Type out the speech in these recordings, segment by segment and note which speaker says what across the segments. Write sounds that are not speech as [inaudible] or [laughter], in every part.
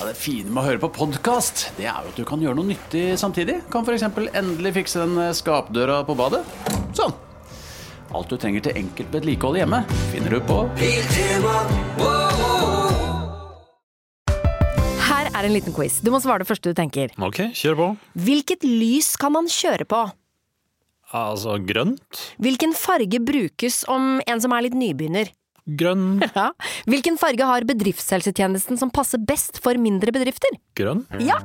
Speaker 1: Ja, det fine med å høre på podkast, det er jo at du kan gjøre noe nyttig samtidig. Kan f.eks. endelig fikse den eh, skapdøra på badet. Sånn. Alt du trenger til enkelt vedlikehold hjemme, finner du på
Speaker 2: Her er en liten quiz. Du må svare det første du tenker.
Speaker 3: Ok, kjør på.
Speaker 2: Hvilket lys kan man kjøre på?
Speaker 3: Altså grønt.
Speaker 2: Hvilken farge brukes om en som er litt nybegynner? [laughs]
Speaker 3: Grønn.
Speaker 2: Ja. Hvilken farge har bedriftshelsetjenesten som passer best for mindre bedrifter?
Speaker 3: Grønn.
Speaker 2: Ja!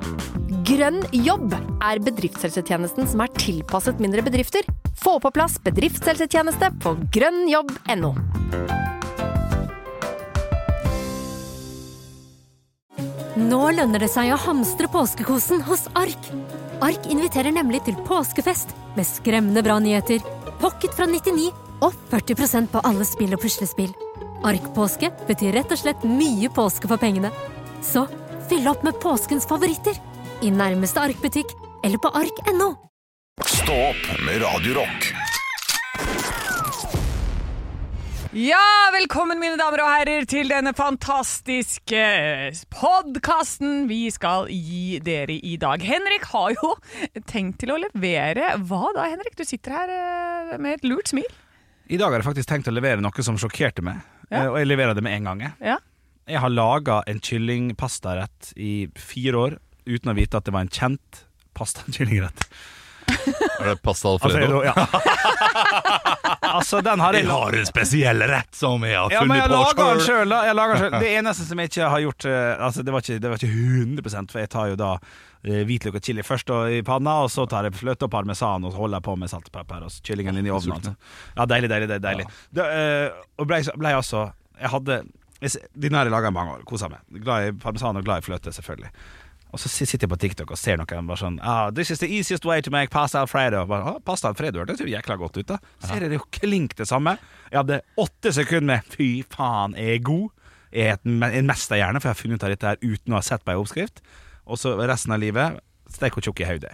Speaker 2: Grønn jobb er bedriftshelsetjenesten som er tilpasset mindre bedrifter. Få på plass bedriftshelsetjeneste på grønnjobb.no.
Speaker 4: Nå lønner det seg å hamstre påskekosen hos Ark. Ark inviterer nemlig til påskefest med skremmende bra nyheter, pocket fra 99 og 40 på alle spill og puslespill. Ark-påske betyr rett og slett mye påske for pengene. Så fyll opp med påskens favoritter i nærmeste Ark-butikk eller på ark.no.
Speaker 5: Stå opp med Radio Rock.
Speaker 6: Ja, velkommen mine damer og herrer til denne fantastiske podkasten vi skal gi dere i dag. Henrik har jo tenkt til å levere Hva da, Henrik? Du sitter her eh, med et lurt smil.
Speaker 7: I dag har jeg faktisk tenkt å levere noe som sjokkerte meg,
Speaker 6: Ja.
Speaker 7: eh, og jeg leverer det med en gang. jeg.
Speaker 6: Ja.
Speaker 7: Jeg har laga en kyllingpastarett i fire år uten å vite at det var en kjent [laughs] pastakyllingrett.
Speaker 8: Er det pasta
Speaker 7: Altså, jeg,
Speaker 8: alfredo?
Speaker 7: ja. altså, den har jeg
Speaker 8: Jeg har en spesiell rett som jeg har
Speaker 7: Ja, men
Speaker 8: funnet
Speaker 7: jeg
Speaker 8: på
Speaker 7: lager den
Speaker 8: selv.
Speaker 7: sjøl, da. Jeg lager
Speaker 8: [laughs]
Speaker 7: den selv. Det eneste som jeg ikke har gjort eh, Altså, det var ikke, det var ikke 100 for jeg tar jo da eh, hvitløk og chili først og, i panna, og så tar jeg fløte og parmesan og så holder jeg på med salt og pepper og så kyllingen inn i ovnen. Altså. Ja, deilig, deilig, deilig. deilig. Det, eh, og blei ble altså Jeg hadde jeg, s- Denne har jeg laga i mange år, kosa meg. Glad i parmesan og glad i fløte, selvfølgelig. Og så si- sitter jeg på TikTok og ser noen bare sånn ah, 'This is the easiest way to make pasta alfredo'. Bare, ah, pasta alfredo hørtes jo jækla godt ut, da. Ser jeg det er jo klink det samme. Jeg hadde åtte sekunder med 'fy faen, jeg er god'. Jeg er et me- en mesterhjerne, for jeg har funnet ut av dette her uten å ha sett på ei oppskrift. Og så resten av livet steik og tjukk i hodet.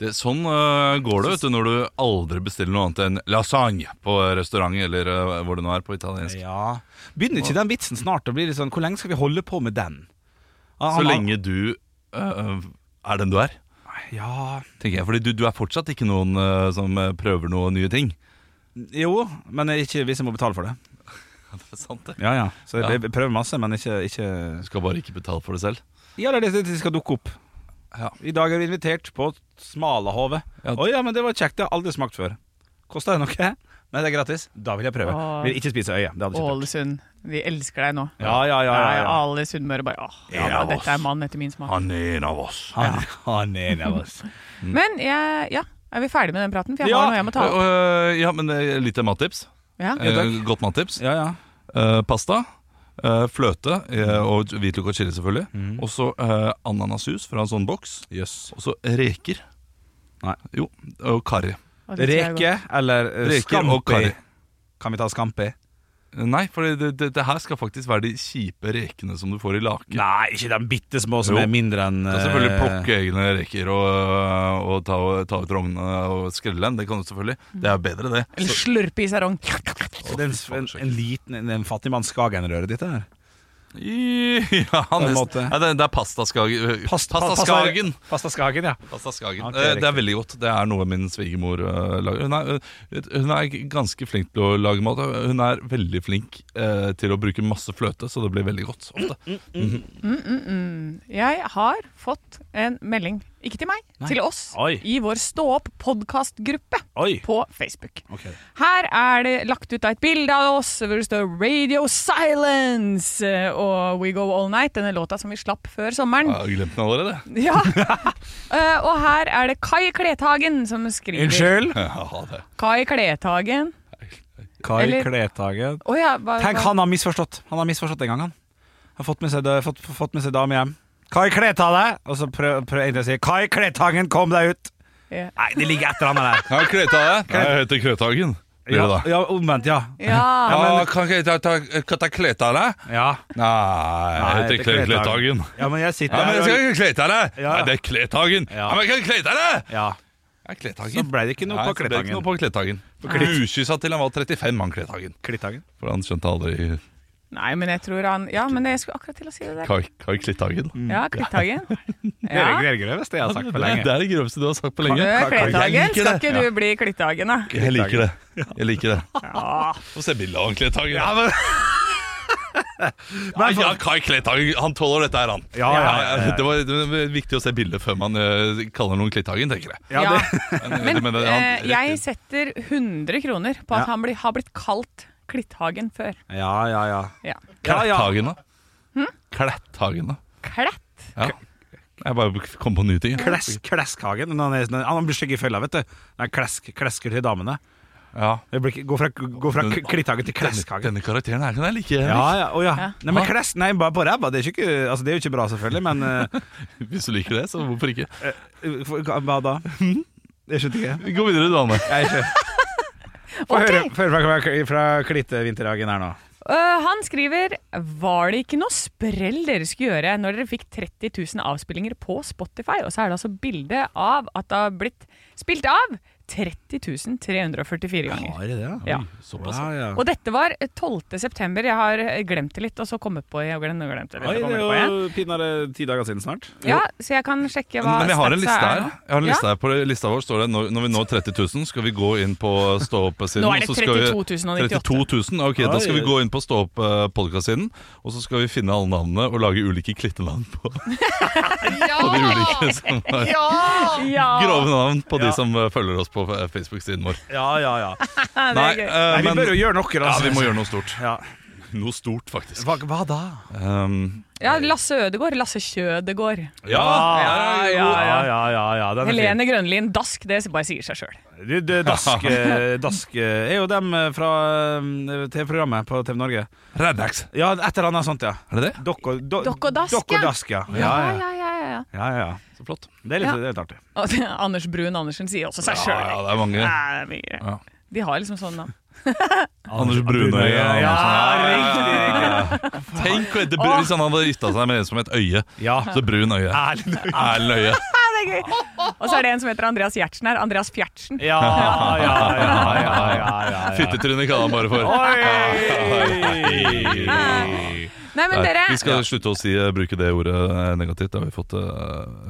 Speaker 8: Det, sånn øh, går det vet du, når du aldri bestiller noe annet enn lasagne på restaurant, eller øh, hvor det nå er på italiensk.
Speaker 7: Ja. Begynner ikke den vitsen snart å bli litt sånn 'hvor lenge skal vi holde på med den'? Ah,
Speaker 8: Så
Speaker 7: han-
Speaker 8: lenge du øh, er den du er,
Speaker 7: Ja
Speaker 8: tenker jeg. Fordi du, du er fortsatt ikke noen øh, som øh, prøver noen nye ting.
Speaker 7: Jo, men ikke hvis jeg må betale for det.
Speaker 8: Det er sant, det.
Speaker 7: Ja, ja. Så
Speaker 8: Ja.
Speaker 7: jeg, jeg prøver masse, men ikke, ikke
Speaker 8: Du skal bare ikke betale for det selv.
Speaker 7: Ja, det er det som skal dukke opp.
Speaker 8: Ja.
Speaker 7: I dag er vi invitert på Smalahove. Å
Speaker 8: Ja.
Speaker 7: ja. men det var kjekt. Det har jeg aldri smakt før. Kosta det noe? Nei, det er gratis. Da vil jeg prøve.
Speaker 6: Åh.
Speaker 7: Vil ikke spise øye. Det hadde jeg ikke turt.
Speaker 6: Ålesund, de elsker deg nå.
Speaker 7: Ja, ja, ja. ja,
Speaker 6: Nei,
Speaker 7: ja.
Speaker 6: alle sunnmøre bare åh, ja,
Speaker 8: Ja,
Speaker 6: da, dette er mannen etter min smak.
Speaker 8: Han er en av oss.
Speaker 7: Han, han er en
Speaker 6: [laughs]
Speaker 7: av oss.
Speaker 6: Men jeg, ja, er vi ferdig med den praten? For jeg
Speaker 7: Ja,
Speaker 6: har noe jeg må ta
Speaker 8: Øh,
Speaker 6: opp.
Speaker 8: øh, ja, men øh, litt mattips.
Speaker 6: Ja.
Speaker 7: Ja, takk.
Speaker 8: Eh, godt mattips.
Speaker 7: Ja, ja.
Speaker 8: Eh, pasta, eh, fløte eh, og hvitløk og chili selvfølgelig.
Speaker 7: Mm.
Speaker 8: Og så eh, ananashus fra en sånn boks. Og så reker.
Speaker 7: Nei.
Speaker 8: Jo, og karri.
Speaker 6: Og det tror jeg er godt.
Speaker 7: Reke eller eh,
Speaker 8: Reker og
Speaker 7: scampi?
Speaker 8: karri.
Speaker 7: Kan vi ta scampi?
Speaker 8: Nei, for det, det, det her skal faktisk være de kjipe rekene som du får i lake.
Speaker 7: Nei, ikke de bitte små som
Speaker 8: Jo.
Speaker 7: er mindre enn eh,
Speaker 8: Du kan selvfølgelig plukke egne reker og, og ta, ta ut rognene og skrelle dem. Det kan du selvfølgelig. Det er bedre, det.
Speaker 6: Eller slurpe i sarong.
Speaker 7: Det er en, en, en liten en, en fattigmanns Skagen-røre, dette her.
Speaker 8: I- [laughs] Ja, nesten.
Speaker 7: måte.
Speaker 8: Nei, det, det er pastaskagen. Pastaskagen!
Speaker 7: Pasta Skagen, ja.
Speaker 8: Pasta Skagen. Eh,
Speaker 7: Ok,
Speaker 8: det er
Speaker 7: riktig.
Speaker 8: veldig godt. Det er noe min svigermor eh, lager. Hun er, eh, hun er ganske flink til å lage mat. Hun er veldig flink eh, til å bruke masse fløte, så det blir veldig godt ofte.
Speaker 7: Mm,
Speaker 6: Jeg har fått en melding, ikke til meg, til oss,
Speaker 7: Oi.
Speaker 6: i vår Stå opp podkastgruppe
Speaker 7: Oi.
Speaker 6: på Facebook.
Speaker 7: Ok.
Speaker 6: Her er det lagt ut av et bilde av oss hvor det står 'Radio Silence' eh, og 'We Go All Night', denne låta som vi slapp før sommeren.
Speaker 7: mm.
Speaker 8: Jeg
Speaker 7: Ah.
Speaker 8: har glemt den allerede. [laughs]
Speaker 7: [laughs]
Speaker 6: Ja. Eh, og her er det Kai Klethagen som skriver.
Speaker 7: Unnskyld?
Speaker 8: Ja, det.
Speaker 6: Kai Klethagen.
Speaker 7: Kai
Speaker 6: Eller-
Speaker 7: Kletagen.
Speaker 6: Å ja, hva,
Speaker 7: Tenk,
Speaker 6: hva-
Speaker 7: han har misforstått. Han har misforstått en gang, han. Har fått med seg, dø- fått, fått med seg dame hjem. Kai, kle av deg! Og så prøv, prøv egentlig å si Kai Kletangen, kom deg ut!
Speaker 6: Ja.
Speaker 7: Nei, det ligger et eller annet der.
Speaker 8: Ja, Krøthagen. Nei, Jeg heter Krøthagen. Blir
Speaker 7: Ja,
Speaker 8: det da?
Speaker 7: ja, omvendt, ja.
Speaker 6: Ja.
Speaker 8: Ja, kan ikke jeg ta- ta- kan jeg ta kleta deg?
Speaker 7: Ja,
Speaker 8: Nei,
Speaker 7: Nei,
Speaker 8: jeg
Speaker 7: det er
Speaker 8: heter Kle-
Speaker 7: Kletagen.
Speaker 8: Kletagen.
Speaker 7: ja men jeg
Speaker 8: Ja,
Speaker 7: sitter
Speaker 8: men jeg skal
Speaker 7: her og
Speaker 8: ikke kleta deg!
Speaker 7: Ja.
Speaker 8: Nei, det er Kletagen! Ja,
Speaker 7: Ja.
Speaker 8: men jeg kan ikke kleta deg!
Speaker 7: ja.
Speaker 8: Ja,
Speaker 7: Så
Speaker 8: Kletagen.
Speaker 7: ble det ikke noe
Speaker 8: Nei,
Speaker 7: på
Speaker 8: så ble det ikke
Speaker 7: Kletagen.
Speaker 8: noe på Kletagen. Ukyssa til han var 35, han Kletagen.
Speaker 7: Klitagen.
Speaker 8: For han skjønte aldri
Speaker 6: Nei, men jeg tror han Ja, men jeg skulle akkurat til å si det der.
Speaker 8: Kai, Kai Klitthagen.
Speaker 6: Ja, Klitthagen.
Speaker 7: [laughs] Det er
Speaker 6: Ja.
Speaker 7: det grøveste jeg har sagt
Speaker 8: Nei,
Speaker 7: på lenge.
Speaker 8: Mm. det er det grøvste du har sagt på lenge.
Speaker 6: Ø,
Speaker 8: Jeg
Speaker 6: Klitthagen.
Speaker 8: liker
Speaker 6: Eh, Skal
Speaker 8: det.
Speaker 6: ikke du bli Klitthagen, da?
Speaker 8: Jeg liker det. Jeg liker det. Få se bildet av han Klitthagen. Ja, men... Nei, ja, Kai Klitthagen, han tåler dette her, han.
Speaker 7: Ja, ja, ja, ja.
Speaker 8: Det, var, det var viktig å se bildet før man eh, kaller noen Klitthagen, tenker jeg.
Speaker 7: Ja, det,
Speaker 8: Men, men,
Speaker 6: Men eh,
Speaker 8: han-
Speaker 6: jeg setter 100 kroner på
Speaker 7: Ja.
Speaker 6: at han blir, har blitt kalt Klitthagen før.
Speaker 7: ja, ja, ja.
Speaker 6: Ja.
Speaker 7: ja, ja.
Speaker 8: Kletthagen, da? Hm? Kletthagen, da?
Speaker 6: Klett.
Speaker 8: Ja. Jeg bare kom på nye ting. jeg.
Speaker 7: Klesk, Kleskhagen. Når Han, er, når han blir stygg i følga, vet du. Når han klesk, klesker til damene.
Speaker 8: Ja.
Speaker 7: Det blir ikke- Gå fra, gå fra k- Klitthagen til
Speaker 8: Denne,
Speaker 7: Kleskhagen.
Speaker 8: denne karakteren her kan jeg like.
Speaker 7: Ja, ja, å ja.
Speaker 6: Ja.
Speaker 7: Nei, men klesk, nei, bare på ræva. Det, er ikke- altså, det er jo ikke bra, selvfølgelig, men eh,
Speaker 8: [laughs]
Speaker 7: [laughs]
Speaker 8: Hvis du liker det, så hvorfor ikke?
Speaker 7: for- Hva da? Jeg skjønte ikke.
Speaker 8: Vi går videre, du, Anne.
Speaker 7: Jeg
Speaker 6: [laughs]
Speaker 7: skjønte. Få høre, få høre fra, fra, fra Klitte-vinterhagen her nå.
Speaker 6: Ø, Eh, han skriver Var det ikke noe sprell dere skulle gjøre når dere fikk 30 000 avspillinger på Spotify? Og så er det altså bilde av at det har blitt spilt av 30 344 ganger.
Speaker 7: det det?
Speaker 6: Ja.
Speaker 8: Såpass.
Speaker 7: Ja, ja.
Speaker 6: Og dette var 12. september. Jeg har glemt det litt, og så kommet på og glemt, glemt det litt,
Speaker 7: Oi,
Speaker 6: og
Speaker 7: det
Speaker 6: kommet på
Speaker 7: er
Speaker 6: igjen.
Speaker 7: jo pinadø ti dager siden snart.
Speaker 6: Ja, så jeg kan sjekke hva
Speaker 8: Men jeg har en
Speaker 6: statsa
Speaker 8: liste
Speaker 6: er
Speaker 8: her.
Speaker 6: nå.
Speaker 8: Jeg har en
Speaker 6: Ja.
Speaker 8: liste her På lista vår står det når, når vi når 30 000, skal vi gå inn på Stå opp-siden.
Speaker 6: Nå er det
Speaker 8: og så skal vi-
Speaker 6: 32
Speaker 8: 32
Speaker 6: 098.
Speaker 8: 000, ok, Da skal vi gå inn på Stå opp-podkast-siden, og så skal vi finne alle navnene og lage ulike klittenavn
Speaker 6: [laughs]
Speaker 8: på, på de ulike som har
Speaker 6: Ja.
Speaker 8: grove navn på de som eh, følger oss på eh, Facebook-siden vår.
Speaker 7: Ja, ja, ja.
Speaker 8: Nei,
Speaker 6: gøy.
Speaker 8: eh,
Speaker 7: Nei, vi
Speaker 8: men
Speaker 7: bør jo gjøre noe, da.
Speaker 8: ja, vi må gjøre noe stort.
Speaker 7: Ja.
Speaker 8: Noe stort, faktisk.
Speaker 7: Hva, hva da?
Speaker 8: Um,
Speaker 6: Ja, Lasse Ødegård. Lasse Kjødegård.
Speaker 8: ja,
Speaker 6: Ja, ja,
Speaker 7: ja,
Speaker 6: ja.
Speaker 7: ja, ja, ja den er fin.
Speaker 6: Helene Grønlien Dask, det bare sier seg sjøl.
Speaker 7: Du, du, Dask, eh, [laughs] Dask eh, er jo dem eh, fra eh, TV-programmet på TV Norge.
Speaker 8: Raddax.
Speaker 7: Ja, et eller annet sånt, ja.
Speaker 8: Er det det?
Speaker 7: Dokk og do-
Speaker 6: Dokk og Dask,
Speaker 7: Dokk og
Speaker 6: ja.
Speaker 7: Dask, ja. Ja,
Speaker 6: Ja,
Speaker 7: ja.
Speaker 6: ja, ja, ja.
Speaker 7: ja, ja.
Speaker 8: Så flott.
Speaker 7: Det er litt,
Speaker 6: Ja.
Speaker 7: det er litt artig.
Speaker 6: Og det- Anders Brun Andersen sier også seg
Speaker 8: Ja, ja,
Speaker 6: sjøl.
Speaker 8: det er mange. Ja.
Speaker 6: De har liksom sånn navn.
Speaker 8: Anders Brunøy.
Speaker 7: Ja,
Speaker 8: Ja,
Speaker 7: riktig, riktig.
Speaker 8: Tenk å hete Brun hvis han hadde gifta seg med en som het Øye.
Speaker 7: Ja.
Speaker 8: Så Brun Øye.
Speaker 7: Erlend.
Speaker 8: Erlend Øye.
Speaker 6: Og så er det en som heter Andreas Gjertsen her. Andreas Fjertsen.
Speaker 7: Ja, ja, ja, ja, ja, ja, ja.
Speaker 8: Fittetryne kaller han bare for.
Speaker 7: Oi!
Speaker 6: Nei, men
Speaker 8: Nei,
Speaker 6: dere
Speaker 8: vi skal slutte å si, bruke det ordet eh, negativt. Det har vi fått eh,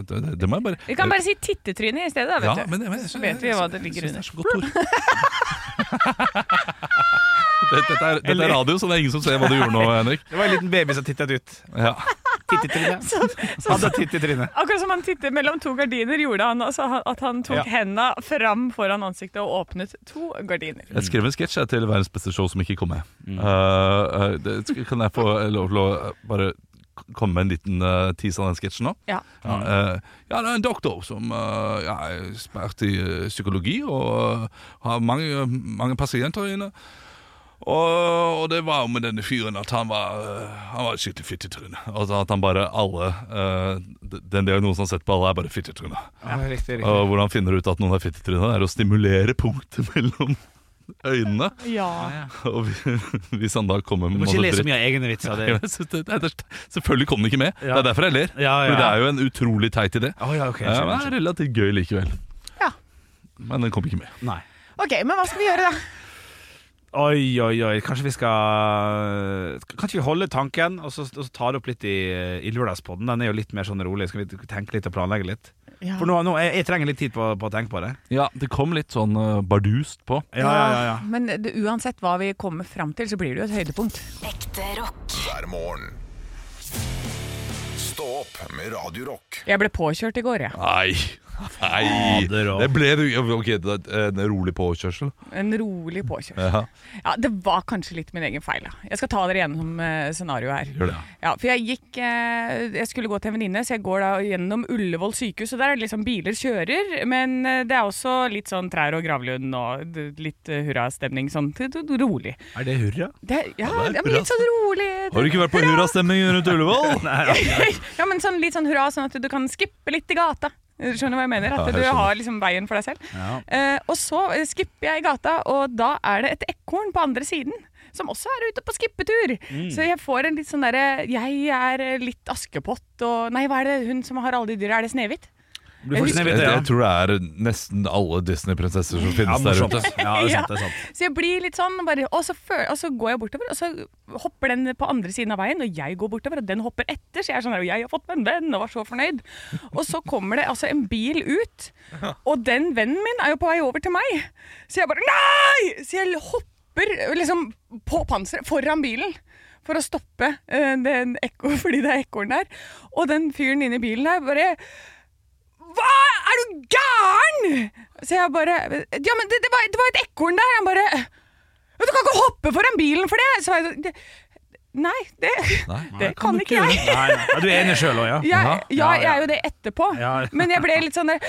Speaker 8: det, det, det må jeg bare
Speaker 6: Vi kan bare si tittetryne i stedet, da,
Speaker 8: ja,
Speaker 6: vet du.
Speaker 8: men, men,
Speaker 6: Så vet vi hva det ligger
Speaker 8: Jeg
Speaker 6: [laughs]
Speaker 8: synes det er så godt [laughs] ord. Dette- Dette er, dette er radio, så det er ingen som ser hva du gjorde nå, Henrik.
Speaker 7: Det var en liten baby som tittet ut.
Speaker 8: Ja.
Speaker 7: Tittetryne. Hadde tittetryne.
Speaker 6: Akkurat som han tittet mellom to gardiner, gjorde han altså han- at han tok
Speaker 7: Ja.
Speaker 6: henda fram foran ansiktet og åpnet to gardiner.
Speaker 8: Jeg skrev en sketsj jeg, til verdens beste show som ikke kom med. Eh, eh, det, sk- kan jeg få lov til å eh, bare k- komme med en liten uh, tease av den sketsjen nå?
Speaker 6: Ja.
Speaker 8: Ja,
Speaker 7: Mm.
Speaker 8: eh, ja, det er en doktor som eh, ja, er ekspert i eh, psykologi og eh, har mange, mange pasienter inne. Og, og det var jo med denne fyren at han var, eh, han var et skikkelig fittetryne. Altså at han bare alle eh, d- Den diagnosen han setter på alle, er bare fittetryne.
Speaker 7: Ja, riktig, riktig.
Speaker 8: Og hvordan han finner ut at noen er fittetryne, er å stimulere punktet [laughs] mellom øynene.
Speaker 6: Ja.
Speaker 8: Og vi- hvis han da kommer med
Speaker 7: Du må ikke
Speaker 8: masse
Speaker 7: le så
Speaker 8: dritt
Speaker 7: mye av egne vitser.
Speaker 8: [laughs] Ja,
Speaker 7: Det.
Speaker 8: jeg synes det- det er- Selvfølgelig kom den ikke med. Det
Speaker 7: Ja.
Speaker 8: er derfor jeg ler.
Speaker 7: Ja, ja.
Speaker 8: For det er jo en utrolig teit idé.
Speaker 7: Å ja, ok.
Speaker 8: Ja,
Speaker 7: skjønner,
Speaker 8: men det er relativt gøy likevel.
Speaker 6: Ja.
Speaker 8: Men den kom ikke med.
Speaker 7: skjønner. Nei.
Speaker 6: OK, men hva skal vi gjøre, da?
Speaker 7: Oi, oi, oi. Kanskje vi skal Kan ikke vi holde tanken, og så, og så ta det opp litt i, i lørdagspodden? Den er jo litt mer sånn rolig. Skal vi tenke litt og planlegge litt?
Speaker 6: Ja.
Speaker 7: For nå, nå jeg, jeg trenger litt tid på, på å tenke på det.
Speaker 8: Ja, det kom litt sånn eh, bardust på.
Speaker 7: Ja, ja, ja,
Speaker 6: Men det, uansett hva vi kommer fram til, så blir det jo et høydepunkt.
Speaker 9: hver morgen. Stå opp med Radio Rock.
Speaker 6: Jeg ble påkjørt i går, jeg.
Speaker 8: Nei. Nei.
Speaker 7: Fader, og-
Speaker 8: Det ble Ok, det er eh, en rolig påkjørsel.
Speaker 6: En rolig påkjørsel.
Speaker 8: Ja.
Speaker 6: Ja, det var kanskje litt min egen feil. Da. Jeg skal ta dere gjennom eh, scenarioet her.
Speaker 8: Gjør det.
Speaker 6: Ja, for jeg gikk eh, Jeg skulle gå til en venninne, så jeg går da gjennom Ullevål sykehus. Og der er det liksom biler kjører, men eh, det er også litt sånn trær og gravlund og d- litt eh, hurrastemning. Sånn t- t- rolig.
Speaker 7: Er det hurra?
Speaker 6: Det, ja,
Speaker 8: Ja, det er
Speaker 6: ja, men litt sånn rolig.
Speaker 8: Har du ikke vært på hurrastemning rundt
Speaker 7: [laughs]
Speaker 8: Ullevål?
Speaker 6: Ja, men sånn, litt sånn hurra, sånn at du kan skippe litt i gata. Skjønner du hva jeg mener?
Speaker 8: Ja,
Speaker 6: At
Speaker 8: jeg
Speaker 6: du
Speaker 8: skjønner.
Speaker 6: har liksom veien for deg selv.
Speaker 7: Ja.
Speaker 6: Eh, og så eh, skipper jeg i gata, og da er det et ekorn på andre siden. Som også er ute på skippetur.
Speaker 8: Mm.
Speaker 6: Så jeg får en litt sånn derre Jeg er eh, litt Askepott og Nei, hva er det hun som har alle de dyra? Er det Snehvit?
Speaker 7: Du får
Speaker 6: husker-
Speaker 7: Snevete,
Speaker 8: Jeg,
Speaker 7: ja.
Speaker 8: jeg tror det er nesten alle Disney-prinsesser som
Speaker 7: Ja,
Speaker 8: finnes der
Speaker 7: morsomt.
Speaker 8: ute.
Speaker 7: Ja, det er sant. det er sant
Speaker 6: Så jeg blir litt sånn, bare, og, så føl, og så går jeg bortover, og så hopper den på andre siden av veien, og jeg går bortover, og den hopper etter, så jeg er sånn, her, jeg har fått meg en venn, og var så fornøyd. Og så kommer det altså en bil ut, og den vennen min er jo på vei over til meg. Så jeg bare, nei! Så jeg hopper liksom på panseret, foran bilen, for å stoppe eh, den ekko, [laughs] fordi det er ekorn der. Og den fyren inne i bilen der bare, hva? Er du gæren? Så jeg bare Ja, men det, det, var, det var et ekorn der. Han bare «Men Du kan ikke hoppe foran bilen for det! Så var jeg sånn, det, Nei, det, det [laughs] kan,
Speaker 7: du
Speaker 6: ikke jeg.
Speaker 7: Nei, nei. Ja, du er enig sjøl òg, ja?
Speaker 6: Jeg, ja,
Speaker 7: Ja,
Speaker 6: jeg
Speaker 7: ja.
Speaker 6: er jo det etterpå,
Speaker 7: Ja.
Speaker 6: men jeg ble litt sånn der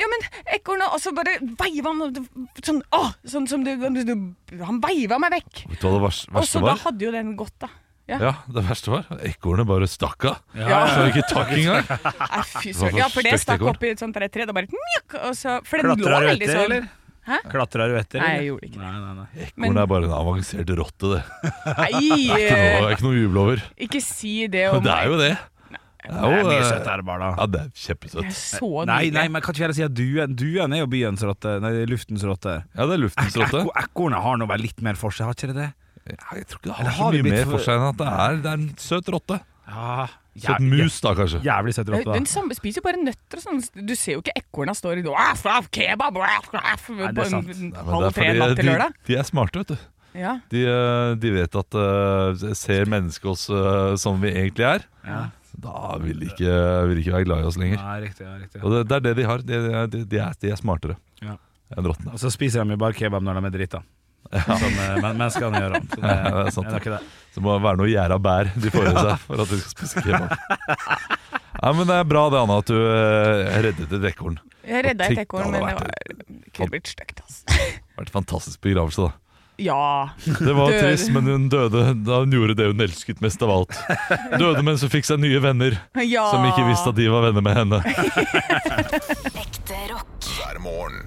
Speaker 6: Ja, men ekornet Og så bare veiva han sånn, å, sånn som du, du, du Han veiva meg vekk.
Speaker 8: Vet du hva det vers-
Speaker 6: Og så
Speaker 8: verste
Speaker 6: da
Speaker 8: var?
Speaker 6: hadde jo den gått, da. Ja,
Speaker 8: Ja, det verste var Ekornet bare stakk av.
Speaker 6: ja.
Speaker 8: Så ikke takk engang.
Speaker 6: Nei,
Speaker 8: Det var
Speaker 6: fy søren.
Speaker 8: så
Speaker 6: Ja, for det
Speaker 8: stygt
Speaker 6: stakk
Speaker 8: ekorn.
Speaker 6: opp i et sånt der tre, da bare mjukk, og så, For den lå
Speaker 7: Klatra du
Speaker 6: veldig
Speaker 7: etter,
Speaker 6: sånn.
Speaker 7: eller?
Speaker 6: Hæ?
Speaker 7: Klatra du etter?
Speaker 6: Nei,
Speaker 7: eller?
Speaker 6: jeg gjorde ikke det.
Speaker 7: Nei, nei, nei.
Speaker 6: [laughs] Men-
Speaker 8: Ekornet er bare en avansert rotte, det.
Speaker 6: Nei,
Speaker 8: Det er
Speaker 6: eh,
Speaker 8: ikke noe å juble over.
Speaker 6: ikke si det om
Speaker 8: Men [laughs] det er jo det. Det
Speaker 7: Det er mye
Speaker 8: eh,
Speaker 7: søtt her, bare, da.
Speaker 8: Ja, det er
Speaker 6: Det er
Speaker 8: kjempesøtt.
Speaker 6: Så
Speaker 7: Nei,
Speaker 6: nydelig.
Speaker 7: nei, men kan ikke jeg si at duen, duen er jo byens rotte? Nei, luftens rotte.
Speaker 8: Ja, det er luftens rotte.
Speaker 7: Ekko- Ekornet har nå vel litt mer for seg, har ikke det det?
Speaker 8: Ja, Jeg tror ikke det
Speaker 7: Eller
Speaker 8: har så
Speaker 7: har vi
Speaker 8: mye
Speaker 7: blitt
Speaker 8: mer
Speaker 7: for-
Speaker 8: for seg enn at det er, det er en søt rotte.
Speaker 7: Ja,
Speaker 8: Søt mus, da, kanskje.
Speaker 7: Ah, Jævlig søt rotte,
Speaker 6: Den
Speaker 7: da.
Speaker 6: samme spiser jo bare nøtter og sånn. Du ser jo ikke ekorna står i do «Aff, aff, Kebab! ah, aff, aff»,
Speaker 7: det er
Speaker 6: På en
Speaker 7: sant.
Speaker 6: en
Speaker 8: Nei, men
Speaker 6: halv
Speaker 8: det
Speaker 6: tre
Speaker 8: er
Speaker 6: natt
Speaker 8: fordi eh,
Speaker 6: til lørdag.
Speaker 8: De, de er smarte, vet du.
Speaker 6: Ja.
Speaker 8: De, eh, de vet at eh, ser mennesket oss eh, som vi egentlig er,
Speaker 7: Ja.
Speaker 8: da vil de ikke, vil de ikke være glad i oss lenger.
Speaker 7: Nei, riktig, ja, riktig.
Speaker 8: Og det, det er det de har. De, de, de, er, de er smartere
Speaker 7: Ja.
Speaker 8: enn rottene.
Speaker 7: Og så spiser de jo bare kebab når de er drita. Som eh, men- menneskene gjør. da. Så det,
Speaker 8: Ja, det er sant.
Speaker 7: det er ikke det.
Speaker 8: Så det må være noe gjæra bær de får i seg for at de skal spise kebab. Nei, men Det er bra det, Anna, at du eh, reddet et ekorn.
Speaker 6: Jeg redda
Speaker 8: Tenk,
Speaker 6: et
Speaker 8: det
Speaker 6: ekorn, men det
Speaker 8: hadde
Speaker 6: var det kunne blitt stygt, altså.
Speaker 8: Det har vært en fantastisk begravelse, da.
Speaker 6: [laughs]
Speaker 8: [laughs]
Speaker 6: Ja.
Speaker 8: Det var
Speaker 6: Død.
Speaker 8: trist, men hun døde da hun gjorde det hun elsket mest av alt. Døde mens hun fikk seg nye venner
Speaker 6: ja.
Speaker 8: som ikke visste at de var venner med henne.
Speaker 9: hver morgen.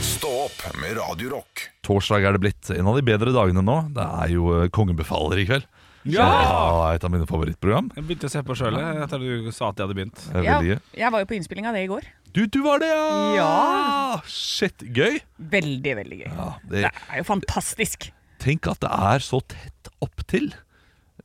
Speaker 9: Stå opp med Radio Rock.
Speaker 8: Torsdag er det blitt en av de bedre dagene nå. Det er jo eh, Kongebefaler i kveld. Ja, Et av mine favorittprogram.
Speaker 7: Jeg begynte å se på sjøl etter du sa at jeg hadde begynt.
Speaker 8: Det er
Speaker 6: ja.
Speaker 8: veldig gøy.
Speaker 6: Jeg var jo på innspilling av det i går.
Speaker 8: Du, du var det, ja!
Speaker 6: Ja.
Speaker 8: Shit, gøy!
Speaker 6: Veldig, veldig gøy.
Speaker 8: Ja, det,
Speaker 6: Det er jo fantastisk.
Speaker 8: tenk at det er så tett opptil.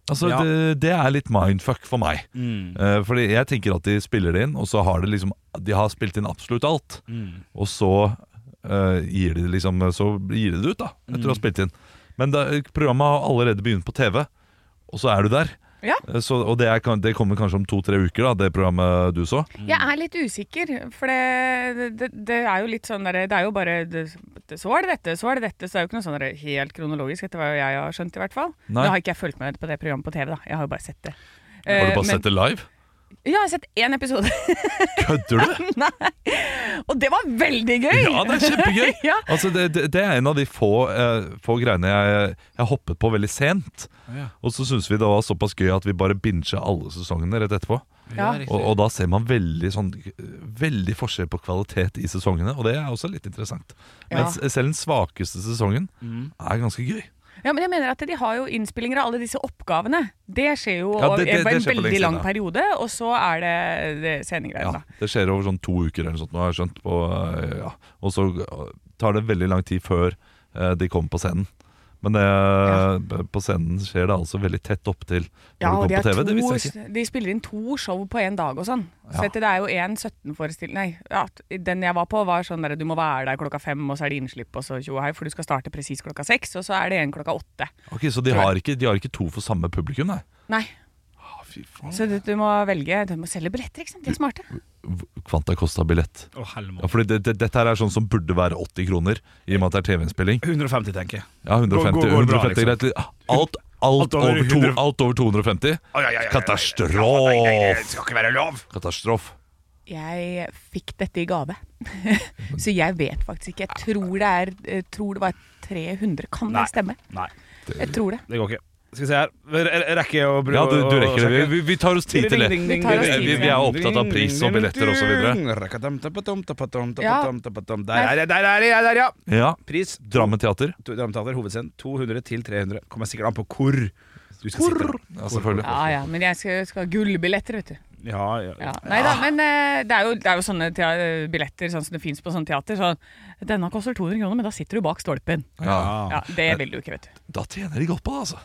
Speaker 8: Altså,
Speaker 7: Ja.
Speaker 8: det, det er litt mindfuck for meg.
Speaker 6: Mm.
Speaker 8: Eh, fordi jeg tenker at de spiller det inn, og så har de liksom De har spilt inn absolutt alt.
Speaker 6: Mm.
Speaker 8: Og så eh, gir de det liksom Så gir de det ut, da, etter
Speaker 6: Mm.
Speaker 8: å ha spilt inn. Men da, programmet har allerede begynt på TV, og så er du der.
Speaker 6: Ja.
Speaker 8: Eh, Så, og det, er, kan- det kommer kanskje om to-tre uker, da, det programmet du så.
Speaker 6: Jeg er litt usikker, for det, det, det er jo litt sånn der, Det er jo bare det, det- Så var det dette, så var det dette. Så det er jo ikke noe sånn der helt kronologisk, etter hva jeg har skjønt, i hvert fall.
Speaker 8: Nei.
Speaker 6: Nå har ikke jeg fulgt med på det programmet på TV, da. Jeg har jo bare sett det.
Speaker 8: Har du bare
Speaker 6: Eh, men-
Speaker 8: sett det live?
Speaker 6: Ja, jeg har sett én episode, [laughs]
Speaker 8: Kødder du?!
Speaker 6: og det var veldig gøy!
Speaker 8: Ja, det er kjempegøy!
Speaker 6: [laughs] Ja.
Speaker 8: Altså, det, det, det er en av de få, eh, få greiene jeg, jeg hoppet på veldig sent. Og så syns vi det var såpass gøy at vi bare bincha alle sesongene rett etterpå.
Speaker 6: Ja.
Speaker 8: Og, og da ser man veldig, sånn, veldig forskjell på kvalitet i sesongene, og det er også litt interessant. Men
Speaker 6: Ja. Mm.
Speaker 8: s- selv den svakeste sesongen er ganske gøy.
Speaker 6: ja, men jeg mener at de har jo innspillinger av alle disse oppgavene. Det skjer jo
Speaker 8: Ja, det- det-
Speaker 6: over
Speaker 8: det skjer på
Speaker 6: en
Speaker 8: lenge
Speaker 6: veldig
Speaker 8: siden,
Speaker 6: lang
Speaker 8: ja.
Speaker 6: periode, og så er det, det sendegreier,
Speaker 8: Ja,
Speaker 6: da.
Speaker 8: det skjer over sånn to uker eller noe sånt, nå har jeg skjønt. På, eh, ja. Og så eh, tar det veldig lang tid før eh, de kommer på scenen. Men det, b- på scenen skjer det altså veldig tett opptil når
Speaker 6: Ja,
Speaker 8: du
Speaker 6: og de,
Speaker 8: kommer på
Speaker 6: har
Speaker 8: TV. Det visste jeg ikke.
Speaker 6: to, de spiller inn to show på én dag og sånn. Så
Speaker 8: Ja.
Speaker 6: dette, det er jo en 17-forestilling Nei, ja, den jeg var på, var sånn der du må være der klokka fem, og så er det innslipp, og så tjo og hei, for du skal starte presis klokka seks, og så er det en klokka åtte.
Speaker 8: Ok, Så de har, ikke, de har ikke to for samme publikum, nei?
Speaker 6: Nei,
Speaker 8: Ah, fy faen.
Speaker 6: så du, du må velge Du må selge billetter, ikke sant? De er smarte.
Speaker 8: V- Kvanta kosta billett.
Speaker 7: Å, helvete.
Speaker 8: Ja, fordi det, det, dette her er sånn som burde være 80 kroner, i og med at det er TV-innspilling.
Speaker 7: 150, tenker jeg.
Speaker 8: Ja, 150,
Speaker 7: Går- går- går bra, liksom.
Speaker 8: 150 greit. Alt, alt,
Speaker 7: Alt over
Speaker 8: over to,
Speaker 7: 100.
Speaker 8: alt over 250. Katastrof!
Speaker 7: skal ikke være lov!
Speaker 8: Katastrof.
Speaker 6: Jeg fikk dette i gave, [laughs] så jeg vet faktisk ikke. Jeg tror det er jeg tror det var 300. Kan
Speaker 7: Nei.
Speaker 6: det stemme?
Speaker 7: Nei,
Speaker 6: Jeg tror det.
Speaker 7: det går ikke. Skal vi se her. Jeg- jeg Rekker jeg å bruke
Speaker 8: Ja, du, du rekker det. Vi, vi, vi tar oss tid til det.
Speaker 6: Vi tar oss tid til
Speaker 8: Vi, vi er opptatt av pris og billetter osv.
Speaker 6: Ja.
Speaker 7: Der er jeg, der er jeg, der, ja!
Speaker 8: Ja.
Speaker 7: Pris
Speaker 8: Drammen teater.
Speaker 7: to- Dramteater, hovedscenen 200 til 300. Kommer sikkert an på hvor du skal sitte.
Speaker 8: Ja, selvfølgelig.
Speaker 6: Ja ja, men jeg skal, skal ha gullbilletter, vet du.
Speaker 7: Ja, ja.
Speaker 6: Ja. Nei da, men eh, det, er jo, det er jo sånne tea- billetter sånn som det fins på sånn teater. Sånn, 'Denne koster 200 kroner, men da sitter du bak stolpen'.
Speaker 8: Ja.
Speaker 6: Ja, Det vil du ikke, vet du.
Speaker 8: Da tjener de godt på det, altså.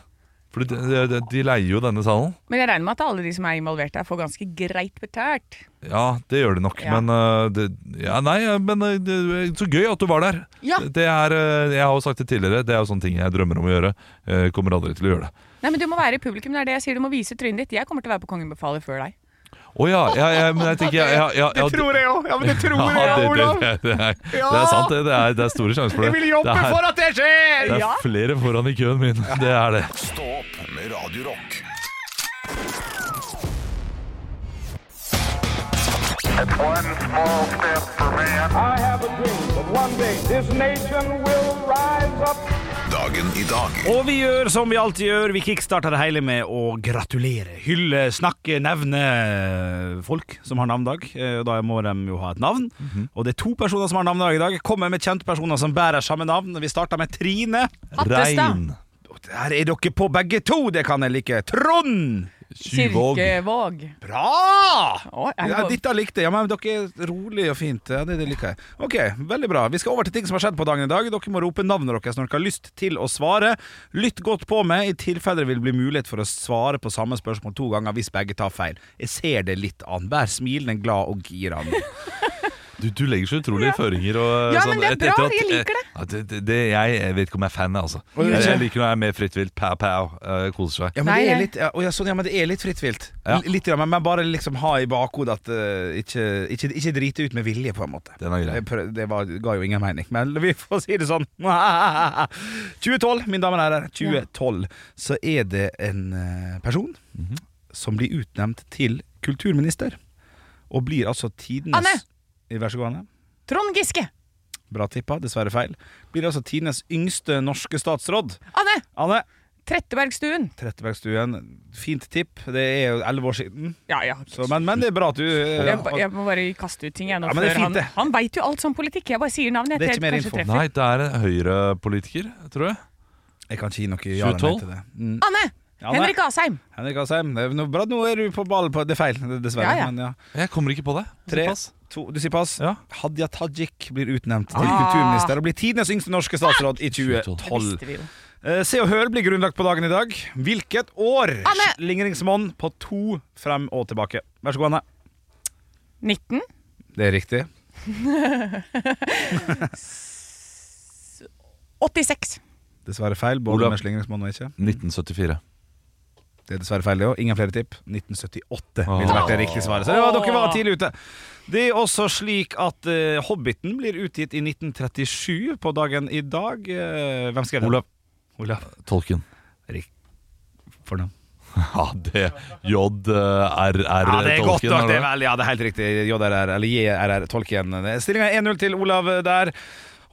Speaker 8: For de, de, de, de leier jo denne salen.
Speaker 6: Men jeg regner med at alle de som er involvert der, får ganske greit betalt.
Speaker 8: Ja, det gjør de nok.
Speaker 6: Ja.
Speaker 8: Men øh, det, Ja, nei, øh, men øh, det, så gøy at du var der!
Speaker 6: Ja.
Speaker 8: Det er, øh, Jeg har jo sagt det tidligere, det er jo sånne ting jeg drømmer om å gjøre. Jeg kommer aldri til å gjøre det.
Speaker 6: Nei, men Du må være i publikum. det er det jeg sier. Du må vise trynet ditt. Jeg kommer til å være på Kongen befaler før deg.
Speaker 8: Å ja, ja, ja, men jeg tenker ja, ja, ja, ja, Det
Speaker 7: jeg òg! Ja, men det
Speaker 8: [laughs]
Speaker 7: tror
Speaker 8: ja, det, det, det, det, er, det er sant, det. Det er, det er store sjanser for det. det er,
Speaker 7: at det skjer!
Speaker 8: det er flere foran i køen min. Det er det.
Speaker 9: Stå opp med Radio Rock.
Speaker 10: I have a dream that one day this nation will rise up.
Speaker 9: Dagen i dag.
Speaker 7: Og vi gjør som vi alltid gjør, vi kickstarter det hele med å gratulere, hylle, snakke, nevne folk som har navnedag. Eh, Og da må de jo ha et navn.
Speaker 10: Mhm.
Speaker 7: Og det er to personer som har navnedag i dag. Kommer med kjente personer som bærer samme navn. Vi starter med Trine.
Speaker 8: Rein.
Speaker 7: Der er dere på begge to, det kan jeg like. Trond!
Speaker 8: Syvåg.
Speaker 6: Kirkevåg.
Speaker 7: Bra!
Speaker 6: Å, er det
Speaker 7: Ja,
Speaker 6: på-
Speaker 7: Dette likte jeg. Ja, men dere er rolig og fint. Ja, det, det liker jeg. Ok, Veldig bra. Vi skal over til ting som har skjedd på dagen i dag. Dere må rope navnet deres når dere har lyst til å svare. Lytt godt på meg i tilfelle det vil bli mulighet for å svare på samme spørsmål to ganger hvis begge tar feil. Jeg ser det litt an. Vær smilende, glad og gira. nå.
Speaker 8: Du, du legger så utrolige føringer. Og,
Speaker 6: Ja,
Speaker 8: sånn,
Speaker 6: men det er
Speaker 8: et-
Speaker 6: bra,
Speaker 8: etter
Speaker 6: jeg liker det.
Speaker 8: eh, at det, det, jeg, jeg vet ikke om jeg er fan, jeg, altså.
Speaker 7: Oi,
Speaker 8: Jeg,
Speaker 7: ikke?
Speaker 8: jeg liker når jeg er med fritt vilt. Pow, pow. eh, koser seg.
Speaker 7: Ja, men
Speaker 6: Nei,
Speaker 7: det er
Speaker 6: jeg-
Speaker 7: litt, ja, å, ja, sånn, ja, men det er litt fritt vilt.
Speaker 8: Ja.
Speaker 7: L- Litt, ja, men, men bare liksom ha i bakhodet at eh, ikke, ikke, ikke drite ut med vilje, på en måte.
Speaker 8: Den er grei.
Speaker 7: Jeg prøv- Det var, ga jo ingen mening, men vi får si det sånn. [laughs] 2012, mine damer og herrer, 2012, så er det en eh, person
Speaker 6: Mhm.
Speaker 7: som blir utnevnt til kulturminister. Og blir altså tidenes
Speaker 6: Anne!
Speaker 7: Vær så god, Anne.
Speaker 6: Trond Giske!
Speaker 7: Bra tippa, dessverre feil. Blir altså tidenes yngste norske statsråd.
Speaker 6: Anne!
Speaker 7: Anne
Speaker 6: Trettebergstuen.
Speaker 7: Trettebergstuen, fint tipp. Det er jo elleve år siden.
Speaker 6: Ja, ja.
Speaker 7: Så, men, men det er bra at du eh,
Speaker 6: Jeg, jeg må bare kaste ut ting. Jeg, nå,
Speaker 7: Ja, men det er
Speaker 6: før
Speaker 7: fint, det.
Speaker 6: han han veit jo alt om politikk. Jeg bare sier navnet.
Speaker 7: Det er
Speaker 6: etter
Speaker 7: ikke mer
Speaker 6: jeg kanskje
Speaker 7: info.
Speaker 6: treffer.
Speaker 8: Nei, det er en høyrepolitiker, tror jeg.
Speaker 7: Jeg kan ikke gi noe ja eller nei
Speaker 8: 2012?
Speaker 7: til det. Mm.
Speaker 6: Anne!
Speaker 7: Anne.
Speaker 6: Henrik Asheim.
Speaker 7: Henrik Asheim, det er noe bra, nå er du på ballen på Det er feil, dessverre.
Speaker 6: Ja, ja.
Speaker 7: Men ja.
Speaker 8: Jeg kommer ikke på det.
Speaker 7: Tre,
Speaker 8: Pass.
Speaker 7: to, du sier pass.
Speaker 8: Ja.
Speaker 7: Hadia Tajik blir utnevnt til kulturminister og blir tidenes yngste norske statsråd
Speaker 6: Ah.
Speaker 7: i
Speaker 6: Det
Speaker 7: 2012.
Speaker 6: visste vi jo.
Speaker 7: Eh, Se og Hør blir grunnlagt på dagen i dag. Hvilket år?
Speaker 6: Anne!
Speaker 7: Slingringsmonn på to frem og tilbake. Vær så god, Anne.
Speaker 6: 19?
Speaker 7: Det er riktig.
Speaker 6: 86.
Speaker 7: Dessverre feil, både
Speaker 8: Olav.
Speaker 7: med slingringsmonn og ikke.
Speaker 8: 1974.
Speaker 7: Det er dessverre feil, det òg. Ingen flere tipp. 1978 ville vært det riktige svaret. Så ja, dere var tidlig ute. Det er også slik at eh, Hobbiten blir utgitt i 1937 på dagen i dag. Eh, hvem skrev det?
Speaker 8: Olav.
Speaker 7: Olav.
Speaker 8: Tolken.
Speaker 7: Fornavn.
Speaker 8: [laughs] Ja, det JRR-tolken.
Speaker 7: Ja, det er godt nok, det er vel. Ja, det er helt riktig. JRR, eller JRR Tolkien. Stillinga er 1-0 til Olav der.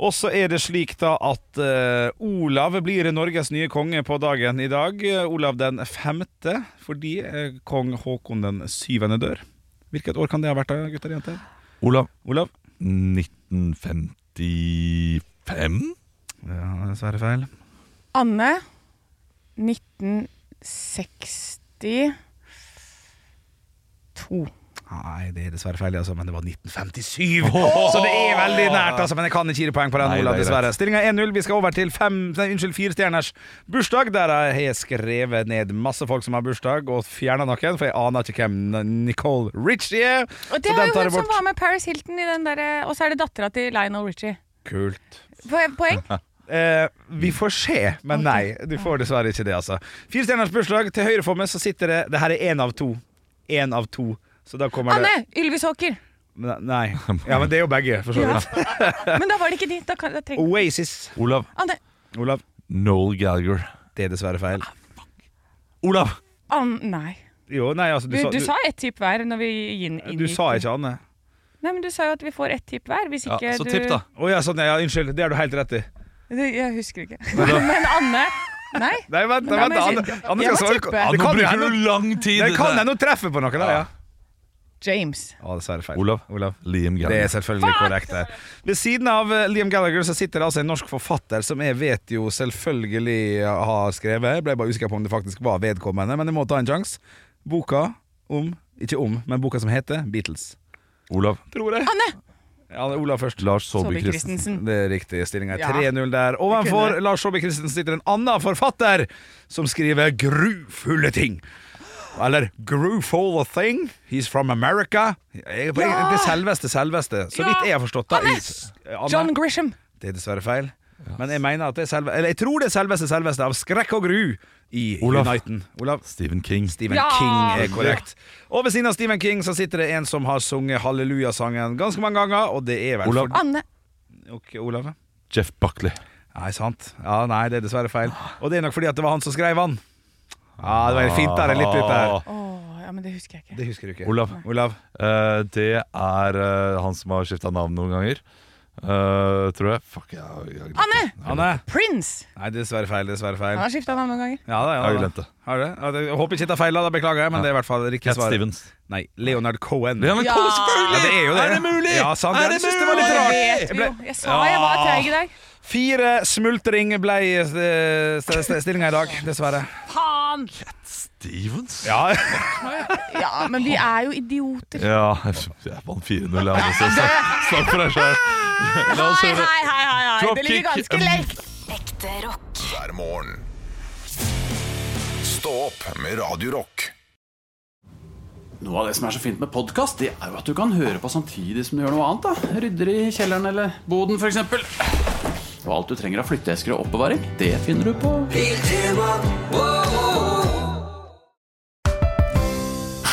Speaker 7: Og så er det slik da at eh, Olav blir Norges nye konge på dagen i dag. Eh, Olav den femte, fordi eh, kong Håkon den syvende dør. Hvilket år kan det ha vært, da, gutter og jenter?
Speaker 8: Olav.
Speaker 7: Olav?
Speaker 8: 1955?
Speaker 7: Ja, dessverre feil.
Speaker 6: Anne 1962
Speaker 7: Nei, det er dessverre feil, altså, men det var 1957! Så det er veldig nært, altså, men jeg kan ikke gi det poeng på den,
Speaker 8: Nei,
Speaker 7: Olav,
Speaker 8: det er
Speaker 7: dessverre.
Speaker 8: greit.
Speaker 7: Stillinga er 1-0. Vi skal over til fem, nei, unnskyld, firestjerners bursdag. Der har jeg skrevet ned masse folk som har bursdag, og fjerna noen, for jeg aner ikke hvem Nicole Richie er.
Speaker 6: Og
Speaker 7: Så
Speaker 6: det var
Speaker 7: den
Speaker 6: jo
Speaker 7: tar
Speaker 6: hun
Speaker 7: jeg
Speaker 6: som
Speaker 7: bort.
Speaker 6: var med Paris Hilton i den derre Og så er det dattera til Lionel Richie.
Speaker 7: Kult.
Speaker 6: Po- Poeng?
Speaker 7: Eh, vi får se, men nei. Du får dessverre ikke det, altså. Firestjerners bursdag. Til høyre for meg så sitter det Det her er én av to. Én av to. Så da kommer det
Speaker 6: Anne! Ylvisåker.
Speaker 7: Ne-
Speaker 8: [laughs]
Speaker 7: Nei. Ja, men det er jo begge, for så vidt.
Speaker 6: Men da var det ikke de. Da kan, da tenk.
Speaker 7: Oasis.
Speaker 8: Olav.
Speaker 6: Anne,
Speaker 7: Olav.
Speaker 8: Noel Gallagher.
Speaker 7: Det er dessverre feil.
Speaker 8: Olav!
Speaker 6: Anne Nei.
Speaker 7: Jo, nei, altså
Speaker 6: Du, du sa ett tipp hver når vi inn,
Speaker 7: du,
Speaker 6: inn
Speaker 7: sa ikke Anne.
Speaker 6: Nei, men du sa jo at vi får ett tipp hver. Hvis
Speaker 8: Ja,
Speaker 6: ikke
Speaker 8: så
Speaker 6: du
Speaker 8: tipp, da.
Speaker 7: Å ja, sånn, ja, unnskyld. Det har du helt rett i.
Speaker 6: Det, jeg husker ikke. Men Anne Nei.
Speaker 7: Nei, vent,
Speaker 6: Men da må
Speaker 7: nei, vent
Speaker 6: jeg
Speaker 7: Anne,
Speaker 6: si-
Speaker 7: Anne
Speaker 6: jeg
Speaker 7: skal
Speaker 6: må
Speaker 7: svare.
Speaker 6: tippe.
Speaker 8: Ja,
Speaker 7: Det
Speaker 8: nå
Speaker 7: kan jo
Speaker 8: bruker
Speaker 7: hende
Speaker 8: du lang tid!
Speaker 7: det kan
Speaker 8: Det-
Speaker 7: hende hun treffer på noe, da. Ja.
Speaker 6: James.
Speaker 7: Ja, dessverre feil.
Speaker 8: Olav.
Speaker 7: Olav.
Speaker 8: Liam
Speaker 7: Det er
Speaker 8: Gallagher.
Speaker 7: selvfølgelig korrekt. der Ved siden av eh, Liam Gallagher så sitter det altså en norsk forfatter som jeg vet jo selvfølgelig har skrevet. Jeg ble bare usikker på om det faktisk var vedkommende, men jeg må ta en sjanse. Boka om Ikke om, men boka som heter Beatles.
Speaker 8: Olav.
Speaker 7: Tror jeg.
Speaker 6: Hanne!
Speaker 7: Ja, det er Olav først.
Speaker 8: Lars Saabye
Speaker 6: Saabye
Speaker 8: Christensen.
Speaker 6: Christensen.
Speaker 7: Det er riktig. Stillinga
Speaker 6: Ja.
Speaker 7: er 3-0 der. Ovenfor
Speaker 6: kunne-
Speaker 7: Lars Saabye Christensen sitter en annen forfatter som skriver grufulle ting. Eller 'Grufull thing'. He's from America. Jeg- Det selveste, selveste. Så
Speaker 6: Ja.
Speaker 7: vidt jeg har forstått det.
Speaker 6: Hannes!
Speaker 7: i- Anne.
Speaker 6: John Grisham.
Speaker 7: Det er dessverre feil. Men jeg mener at det er selve, eller jeg tror det er selveste, selveste av skrekk og gru i
Speaker 8: Olav.
Speaker 7: Uniten. Olav.
Speaker 8: Stephen King.
Speaker 7: Stephen
Speaker 6: Ja!
Speaker 7: King er korrekt. Og ved siden av Stephen King så sitter det en som har sunget hallelujasangen ganske mange ganger, og det er vel
Speaker 8: Olav.
Speaker 6: Anne.
Speaker 7: For, ok, Olav. ja.
Speaker 8: Jeff Buckley.
Speaker 7: Nei, sant. Ja, nei, det er dessverre feil. Og det er nok fordi at det var han som skrev han. Ja, det var fint der, litt ut der.
Speaker 6: Å, ja, men det husker jeg ikke.
Speaker 7: Det husker du ikke.
Speaker 8: Ah. Olav.
Speaker 7: Olav.
Speaker 8: Eh, det er eh, han som har skifta navn noen ganger. Eh, tror jeg. Fuck, jeg, jeg, jeg,
Speaker 6: Anne!
Speaker 7: Hanne.
Speaker 6: Prince.
Speaker 7: Nei, dessverre feil, dessverre
Speaker 6: Han
Speaker 7: feil.
Speaker 6: har skifta navn noen ganger.
Speaker 7: Ja, da, ja,
Speaker 8: jeg har
Speaker 7: da.
Speaker 8: glemt det.
Speaker 7: Har du? Ja, det- Jeg håper ikke det er feil, da beklager jeg, men det er i hvert fall riktig
Speaker 8: Cat
Speaker 7: svar.
Speaker 8: Stevens.
Speaker 7: Nei, Leonard Cohen.
Speaker 8: Leonard
Speaker 6: Ja.
Speaker 8: Cohen, selvfølgelig!
Speaker 7: Ja, det er jo det.
Speaker 8: Er det mulig?
Speaker 7: Ja, sant.
Speaker 8: Er
Speaker 7: Jeg
Speaker 8: det
Speaker 7: synes det var litt
Speaker 8: mulig?
Speaker 7: rart.
Speaker 6: Det vet vi
Speaker 7: Jeg ble-
Speaker 6: jo. Jeg sa jeg var treig i dag.
Speaker 7: Fire smultring ble eh, stillinga i dag, dessverre.
Speaker 6: Faen!
Speaker 8: Stevens?
Speaker 7: Ja,
Speaker 6: Ja, men vi er jo idioter.
Speaker 8: Ja, jeg vant 4-0. jeg,
Speaker 6: [laughs]
Speaker 8: altså. Snakk snakk for deg sjøl. La oss
Speaker 6: Hei,
Speaker 8: høre.
Speaker 6: hei, hei, hei, hei. Det ligger
Speaker 8: Dropkick.
Speaker 6: ganske lekt.
Speaker 11: Ekte rock.
Speaker 9: hver morgen. Stå opp med Radio Rock.
Speaker 1: Noe av det som er så fint med podkast, det er jo at du kan høre på samtidig som du gjør noe annet. da Rydder i kjelleren eller boden, f.eks. Og alt du trenger av flytteesker og oppbevaring, det finner du på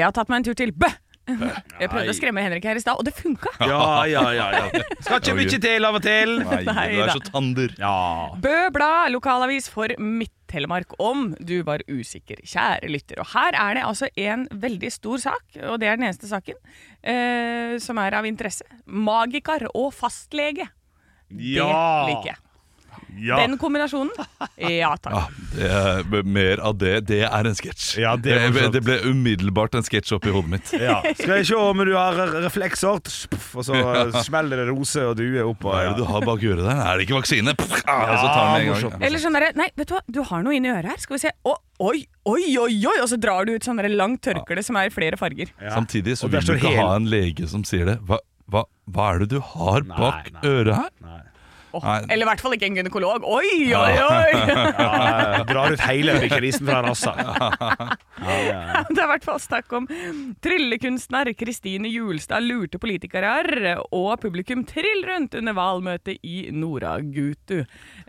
Speaker 6: Jeg har tatt meg en tur til Bø. Jeg prøvde å skremme Henrik her i stad, og det funka.
Speaker 7: ja, ja. ja, Skal ikke mye til av og til. [laughs]
Speaker 8: Nei, du er så tander.
Speaker 6: Bø Blad, lokalavis for Midt-Telemark, om du var usikker, kjære lytter. Og her er det altså en veldig stor sak, og det er den eneste saken, eh, som er av interesse. Magiker og fastlege.
Speaker 7: Ja.
Speaker 6: Det liker jeg.
Speaker 8: Ja.
Speaker 6: Den kombinasjonen. Ja takk.
Speaker 8: Ja, det er, mer av det. Det er en sketsj.
Speaker 7: Ja, det er
Speaker 8: det,
Speaker 7: morsomt.
Speaker 8: det ble umiddelbart en sketsj oppi hodet mitt.
Speaker 7: Skal jeg se om du har re- reflekser, Spuff, og så eh, smeller det rose og due opp.
Speaker 8: Hva er
Speaker 7: Og,
Speaker 8: det du
Speaker 7: ja.
Speaker 8: har bak øret der? Er det ikke vaksine? Pff, ah, så tar den med en gang.
Speaker 6: Eller sånn derre Nei, vet du hva, du har noe inni øret her. Skal vi se. Å, oi, oi, oi, oi! Og så drar du ut sånn derre langt tørkle som er i flere farger.
Speaker 8: Samtidig så
Speaker 7: Og der
Speaker 8: vil du
Speaker 7: står
Speaker 8: ikke
Speaker 7: hel-
Speaker 8: ha en lege som sier det. Hva, hva, hva er det du har bak
Speaker 7: nei.
Speaker 8: øret her?
Speaker 6: Å,
Speaker 8: Nei.
Speaker 6: Eller i hvert fall ikke en gynekolog. Oi, oi,
Speaker 8: [laughs]
Speaker 6: oi!
Speaker 7: Ja, drar ut hele krisen fra rassa.
Speaker 6: [laughs] Det er i hvert fall snakk om tryllekunstner Kristine Julstad lurte politikere og publikum trill rundt under valmøtet i Noragutu.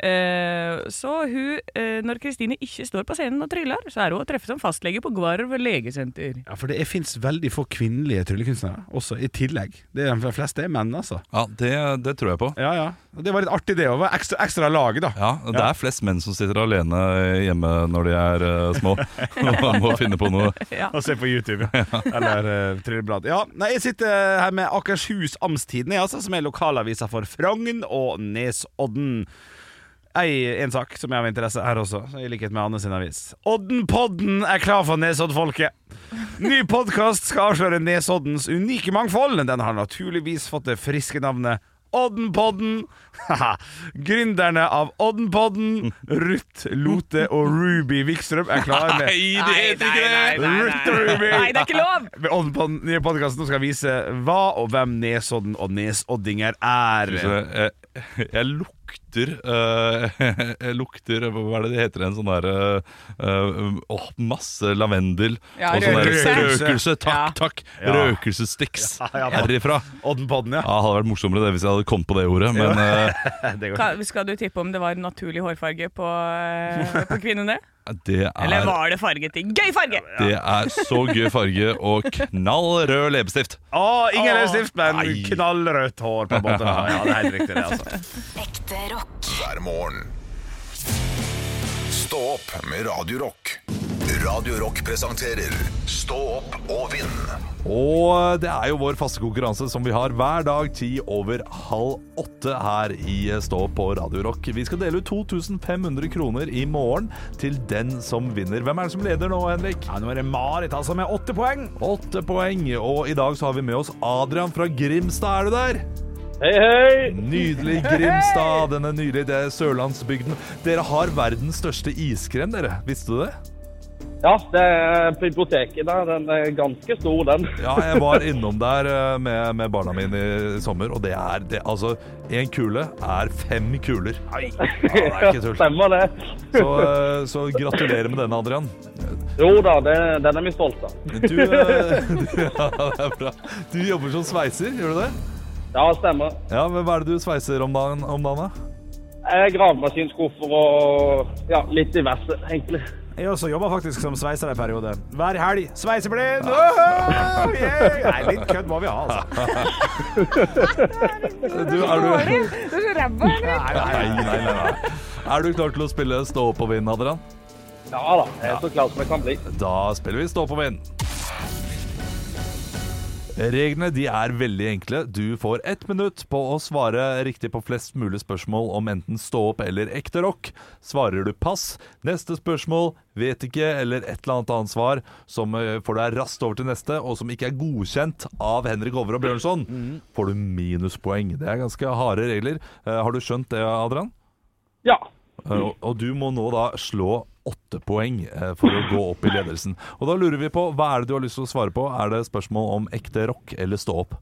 Speaker 6: Eh, så hun, eh, når Kristine ikke står på scenen og tryller, så er hun å treffe som fastlege på Gvarv legesenter. [laughs]
Speaker 7: Ja, for det fins veldig få kvinnelige tryllekunstnere også, i tillegg. Det er De fleste er menn, altså.
Speaker 8: Ja, det, det tror jeg på.
Speaker 7: Ja, ja. Og Det var litt artig, det òg. Ekstra, ekstra laget, da.
Speaker 8: Ja, Det er flest menn som sitter alene hjemme når de er eh, små [laughs] og må finne på noe.
Speaker 7: [laughs] Og se på YouTube, ja. Eller uh, Trylleblad. Ja, nei, jeg sitter eh, her med Akershus Amtstidende, altså, som er lokalavisa for Frogn og Nesodden. Ei, en sak som er av interesse her også, i likhet med Anne sin avis. Oddenpodden er klar for Nesoddfolket! Ny podkast skal avsløre Nesoddens unike mangfold. Den har naturligvis fått det friske navnet Oddenpodden. Haha. Gründerne av Oddenpodden, Ruth Lote og Ruby Wikstrøm, er klare med Ruth og Ruby.
Speaker 6: Nei, det er ikke lov!
Speaker 7: Med Odden på den nye podkasten skal vise hva og hvem Nesodden og nesoddinger er.
Speaker 8: Så jeg, jeg lukter eh, [laughs] Jeg lukter Hva er det det heter? En sånn der eh, eh, åh, Masse lavendel
Speaker 6: Ja,
Speaker 8: og sånn der
Speaker 7: røkelse.
Speaker 8: røkelse. Takk,
Speaker 6: Ja.
Speaker 8: takk!
Speaker 7: Ja.
Speaker 8: Røkelsessticks
Speaker 7: ja da.
Speaker 8: herifra.
Speaker 7: Oddenpodden,
Speaker 8: Ja, hadde vært morsommere det hvis jeg hadde kommet på det ordet, men eh,
Speaker 7: ja. Det går.
Speaker 6: Ka- Skal du tippe om det var naturlig hårfarge på, eh, på kvinnene?
Speaker 8: det
Speaker 6: Eller
Speaker 8: er
Speaker 6: var det fargeting? Gøy farge!
Speaker 8: Det er så gøy farge og knall rød leppestift.
Speaker 7: Å, ingen løsstift, men
Speaker 8: Nei.
Speaker 7: knallrødt hår, på en måte. Ja, det er helt riktig, det, altså.
Speaker 11: Ekte rock.
Speaker 9: hver morgen. Stå opp med Radio Rock. Radio Rock presenterer Stå opp og vinn.
Speaker 8: Og det er jo vår faste konkurranse som vi har hver dag ti over halv åtte her i Stå på Radio Rock. Vi skal dele ut 2500 kroner i morgen til den som vinner. Hvem er det som leder nå, Henrik?
Speaker 7: Ja, Nå er det Marit altså med åtte poeng.
Speaker 8: Åtte poeng. Og i dag så har vi med oss Adrian fra Grimstad. Er du der?
Speaker 12: Hei, hei!
Speaker 8: Nydelig Grimstad, denne nydelige sørlandsbygden. Dere har verdens største iskrem, dere. Visste du det?
Speaker 12: Ja, det er på biblioteket der. Den er ganske stor, den. [laughs]
Speaker 8: Ja, jeg var innom der eh, med, med barna mine i sommer, og det er det, Altså, én kule er fem kuler. Ja, det er ikke tull.
Speaker 12: Stemmer det.
Speaker 8: Så, eh, så gratulerer med den, Adrian.
Speaker 12: Jo da, det, den er vi stolte av.
Speaker 8: Du, eh, [laughs] du, ja, det er bra. du jobber som sveiser, gjør du det?
Speaker 12: Ja, stemmer.
Speaker 8: Ja, men Hva er det du sveiser om dagen, om dagen da?
Speaker 12: Eh, Gravemaskinskuffer og ja, litt diverse, egentlig.
Speaker 7: Jeg også jobber faktisk som sveiser en periode. Hver helg sveiseblind! Wow, yeah! Nei, litt kødd må vi ha, altså.
Speaker 8: Du, er du-
Speaker 6: Du er så ræva, Henrik.
Speaker 8: Nei, nei, nei, nei. Er du klar til å spille Stå opp og vinn, Adrian?
Speaker 12: Ja da, jeg er så klar som jeg kan bli.
Speaker 8: Da spiller vi Stå på vind. Reglene de er veldig enkle. Du får ett minutt på å svare riktig på flest mulig spørsmål om enten stå opp eller ekte rock. Svarer du pass, neste spørsmål, vet ikke eller et eller annet annet svar som eh, får deg raskt over til neste, og som ikke er godkjent av Henrik Over og Bjørnson, får du minuspoeng. Det er ganske harde regler. Eh, Har du skjønt det, Adrian?
Speaker 12: Ja.
Speaker 8: Eh, Og, og du må nå da slå åtte poeng eh, for å gå opp i ledelsen. Og da lurer vi på, hva er det du har lyst til å svare på? Er det spørsmål om ekte rock eller stå opp?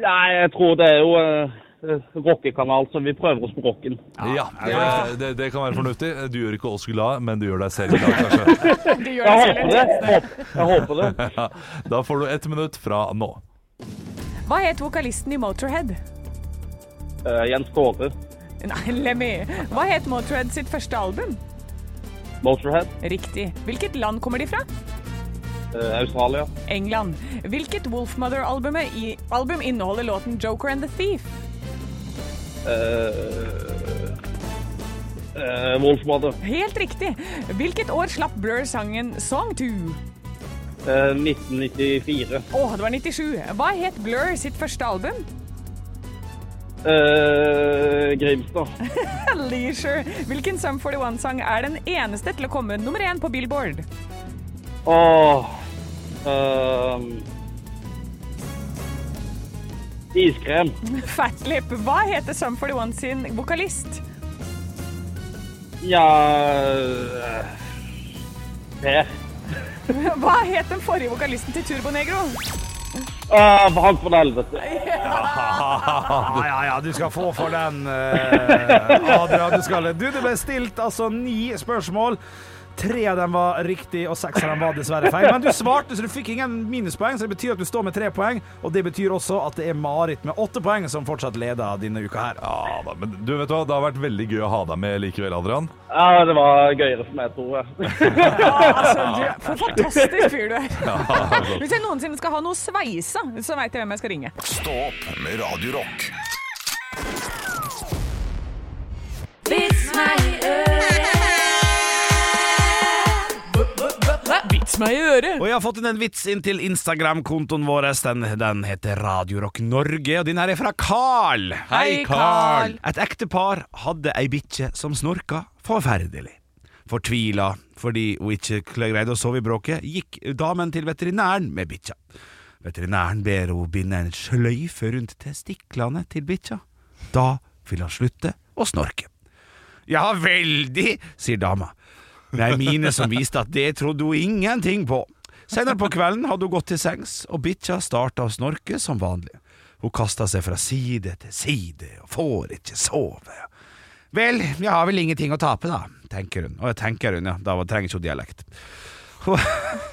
Speaker 12: Nei, jeg tror det er jo eh, rockekanal, så vi prøver oss på rocken.
Speaker 8: Ja, det, det, det kan være fornuftig. Du gjør ikke oss glad, men du gjør deg selv glad, kanskje. [laughs]
Speaker 12: Jeg håper det. Håper- Jeg håper det.
Speaker 8: Ja, da får du ett minutt fra nå.
Speaker 6: Hva het vokalisten i Motorhead?
Speaker 12: Eh, Jens Kåre,
Speaker 6: Nei, Lemmy. Hva het Motorhead sitt første album?
Speaker 12: Motorhead,
Speaker 6: Riktig. Hvilket land kommer de fra?
Speaker 12: eh, Australia,
Speaker 6: England. Hvilket Wolfmother-albumet i- album inneholder låten Joker and the Thief?
Speaker 12: eh, eh, Wolfmother,
Speaker 6: Helt riktig. Hvilket år slapp Blur sangen Song 2?
Speaker 12: eh, 1994.
Speaker 6: Å, det var 97. Hva het Blur sitt første album?
Speaker 12: Eh, Grimstad.
Speaker 6: Leisure. Hvilken Sum 41-sang er den eneste til å komme nummer én på Billboard?
Speaker 12: Åh. ehm, iskrem.
Speaker 6: Fatlip. Hva heter Sum 41 sin vokalist?
Speaker 12: Ja eh, Per.
Speaker 6: Hva het den forrige vokalisten til Turbo Negro?
Speaker 12: Ah, Brann for helvete.
Speaker 7: Ja, ja, ja, du skal få for den, eh, Adrian. Du, skal. du, det ble stilt altså ni spørsmål. Tre av dem var riktig, og seks av dem var dessverre feil. Men du svarte, så du fikk ingen minuspoeng, så det betyr at du står med tre poeng. Og det betyr også at det er Marit med åtte poeng som fortsatt leder denne uka her.
Speaker 8: Ja da, men du vet hva, det har vært veldig gøy å ha deg med likevel, Adrian.
Speaker 12: Ja, det var gøyere for meg, tror jeg.
Speaker 6: Altså, du, for fantastisk fyr du er.
Speaker 8: Ja, altså.
Speaker 6: Hvis jeg noensinne skal ha noe sveisa, så veit jeg hvem jeg skal ringe.
Speaker 9: Stå opp med Radio Rock.
Speaker 11: Vits meg i
Speaker 6: Vits meg i øret.
Speaker 7: Og jeg har fått inn en vits inn til Instagram-kontoen vår. Den, den heter Radio Rock Norge, og den her er fra Carl.
Speaker 8: Hei, Carl.
Speaker 7: Et ektepar hadde ei bikkje som snorka forferdelig. Fortvila fordi hun ikke greide å sove i bråket, gikk damen til veterinæren med bikkja. Veterinæren ber hun binde en sløyfe rundt testiklene til bikkja. Da vil han slutte å snorke. Ja, veldig, sier dama. Nei, mine som viste at det trodde hun ingenting på. Senere på kvelden hadde hun gått til sengs, og bikkja starta å snorke som vanlig. Hun kasta seg fra side til side og får ikke sove. Vel, jeg har vel ingenting å tape, da, tenker hun. Og jeg tenker hun, ja, da trenger ikke hun dialekt. Hun, [laughs]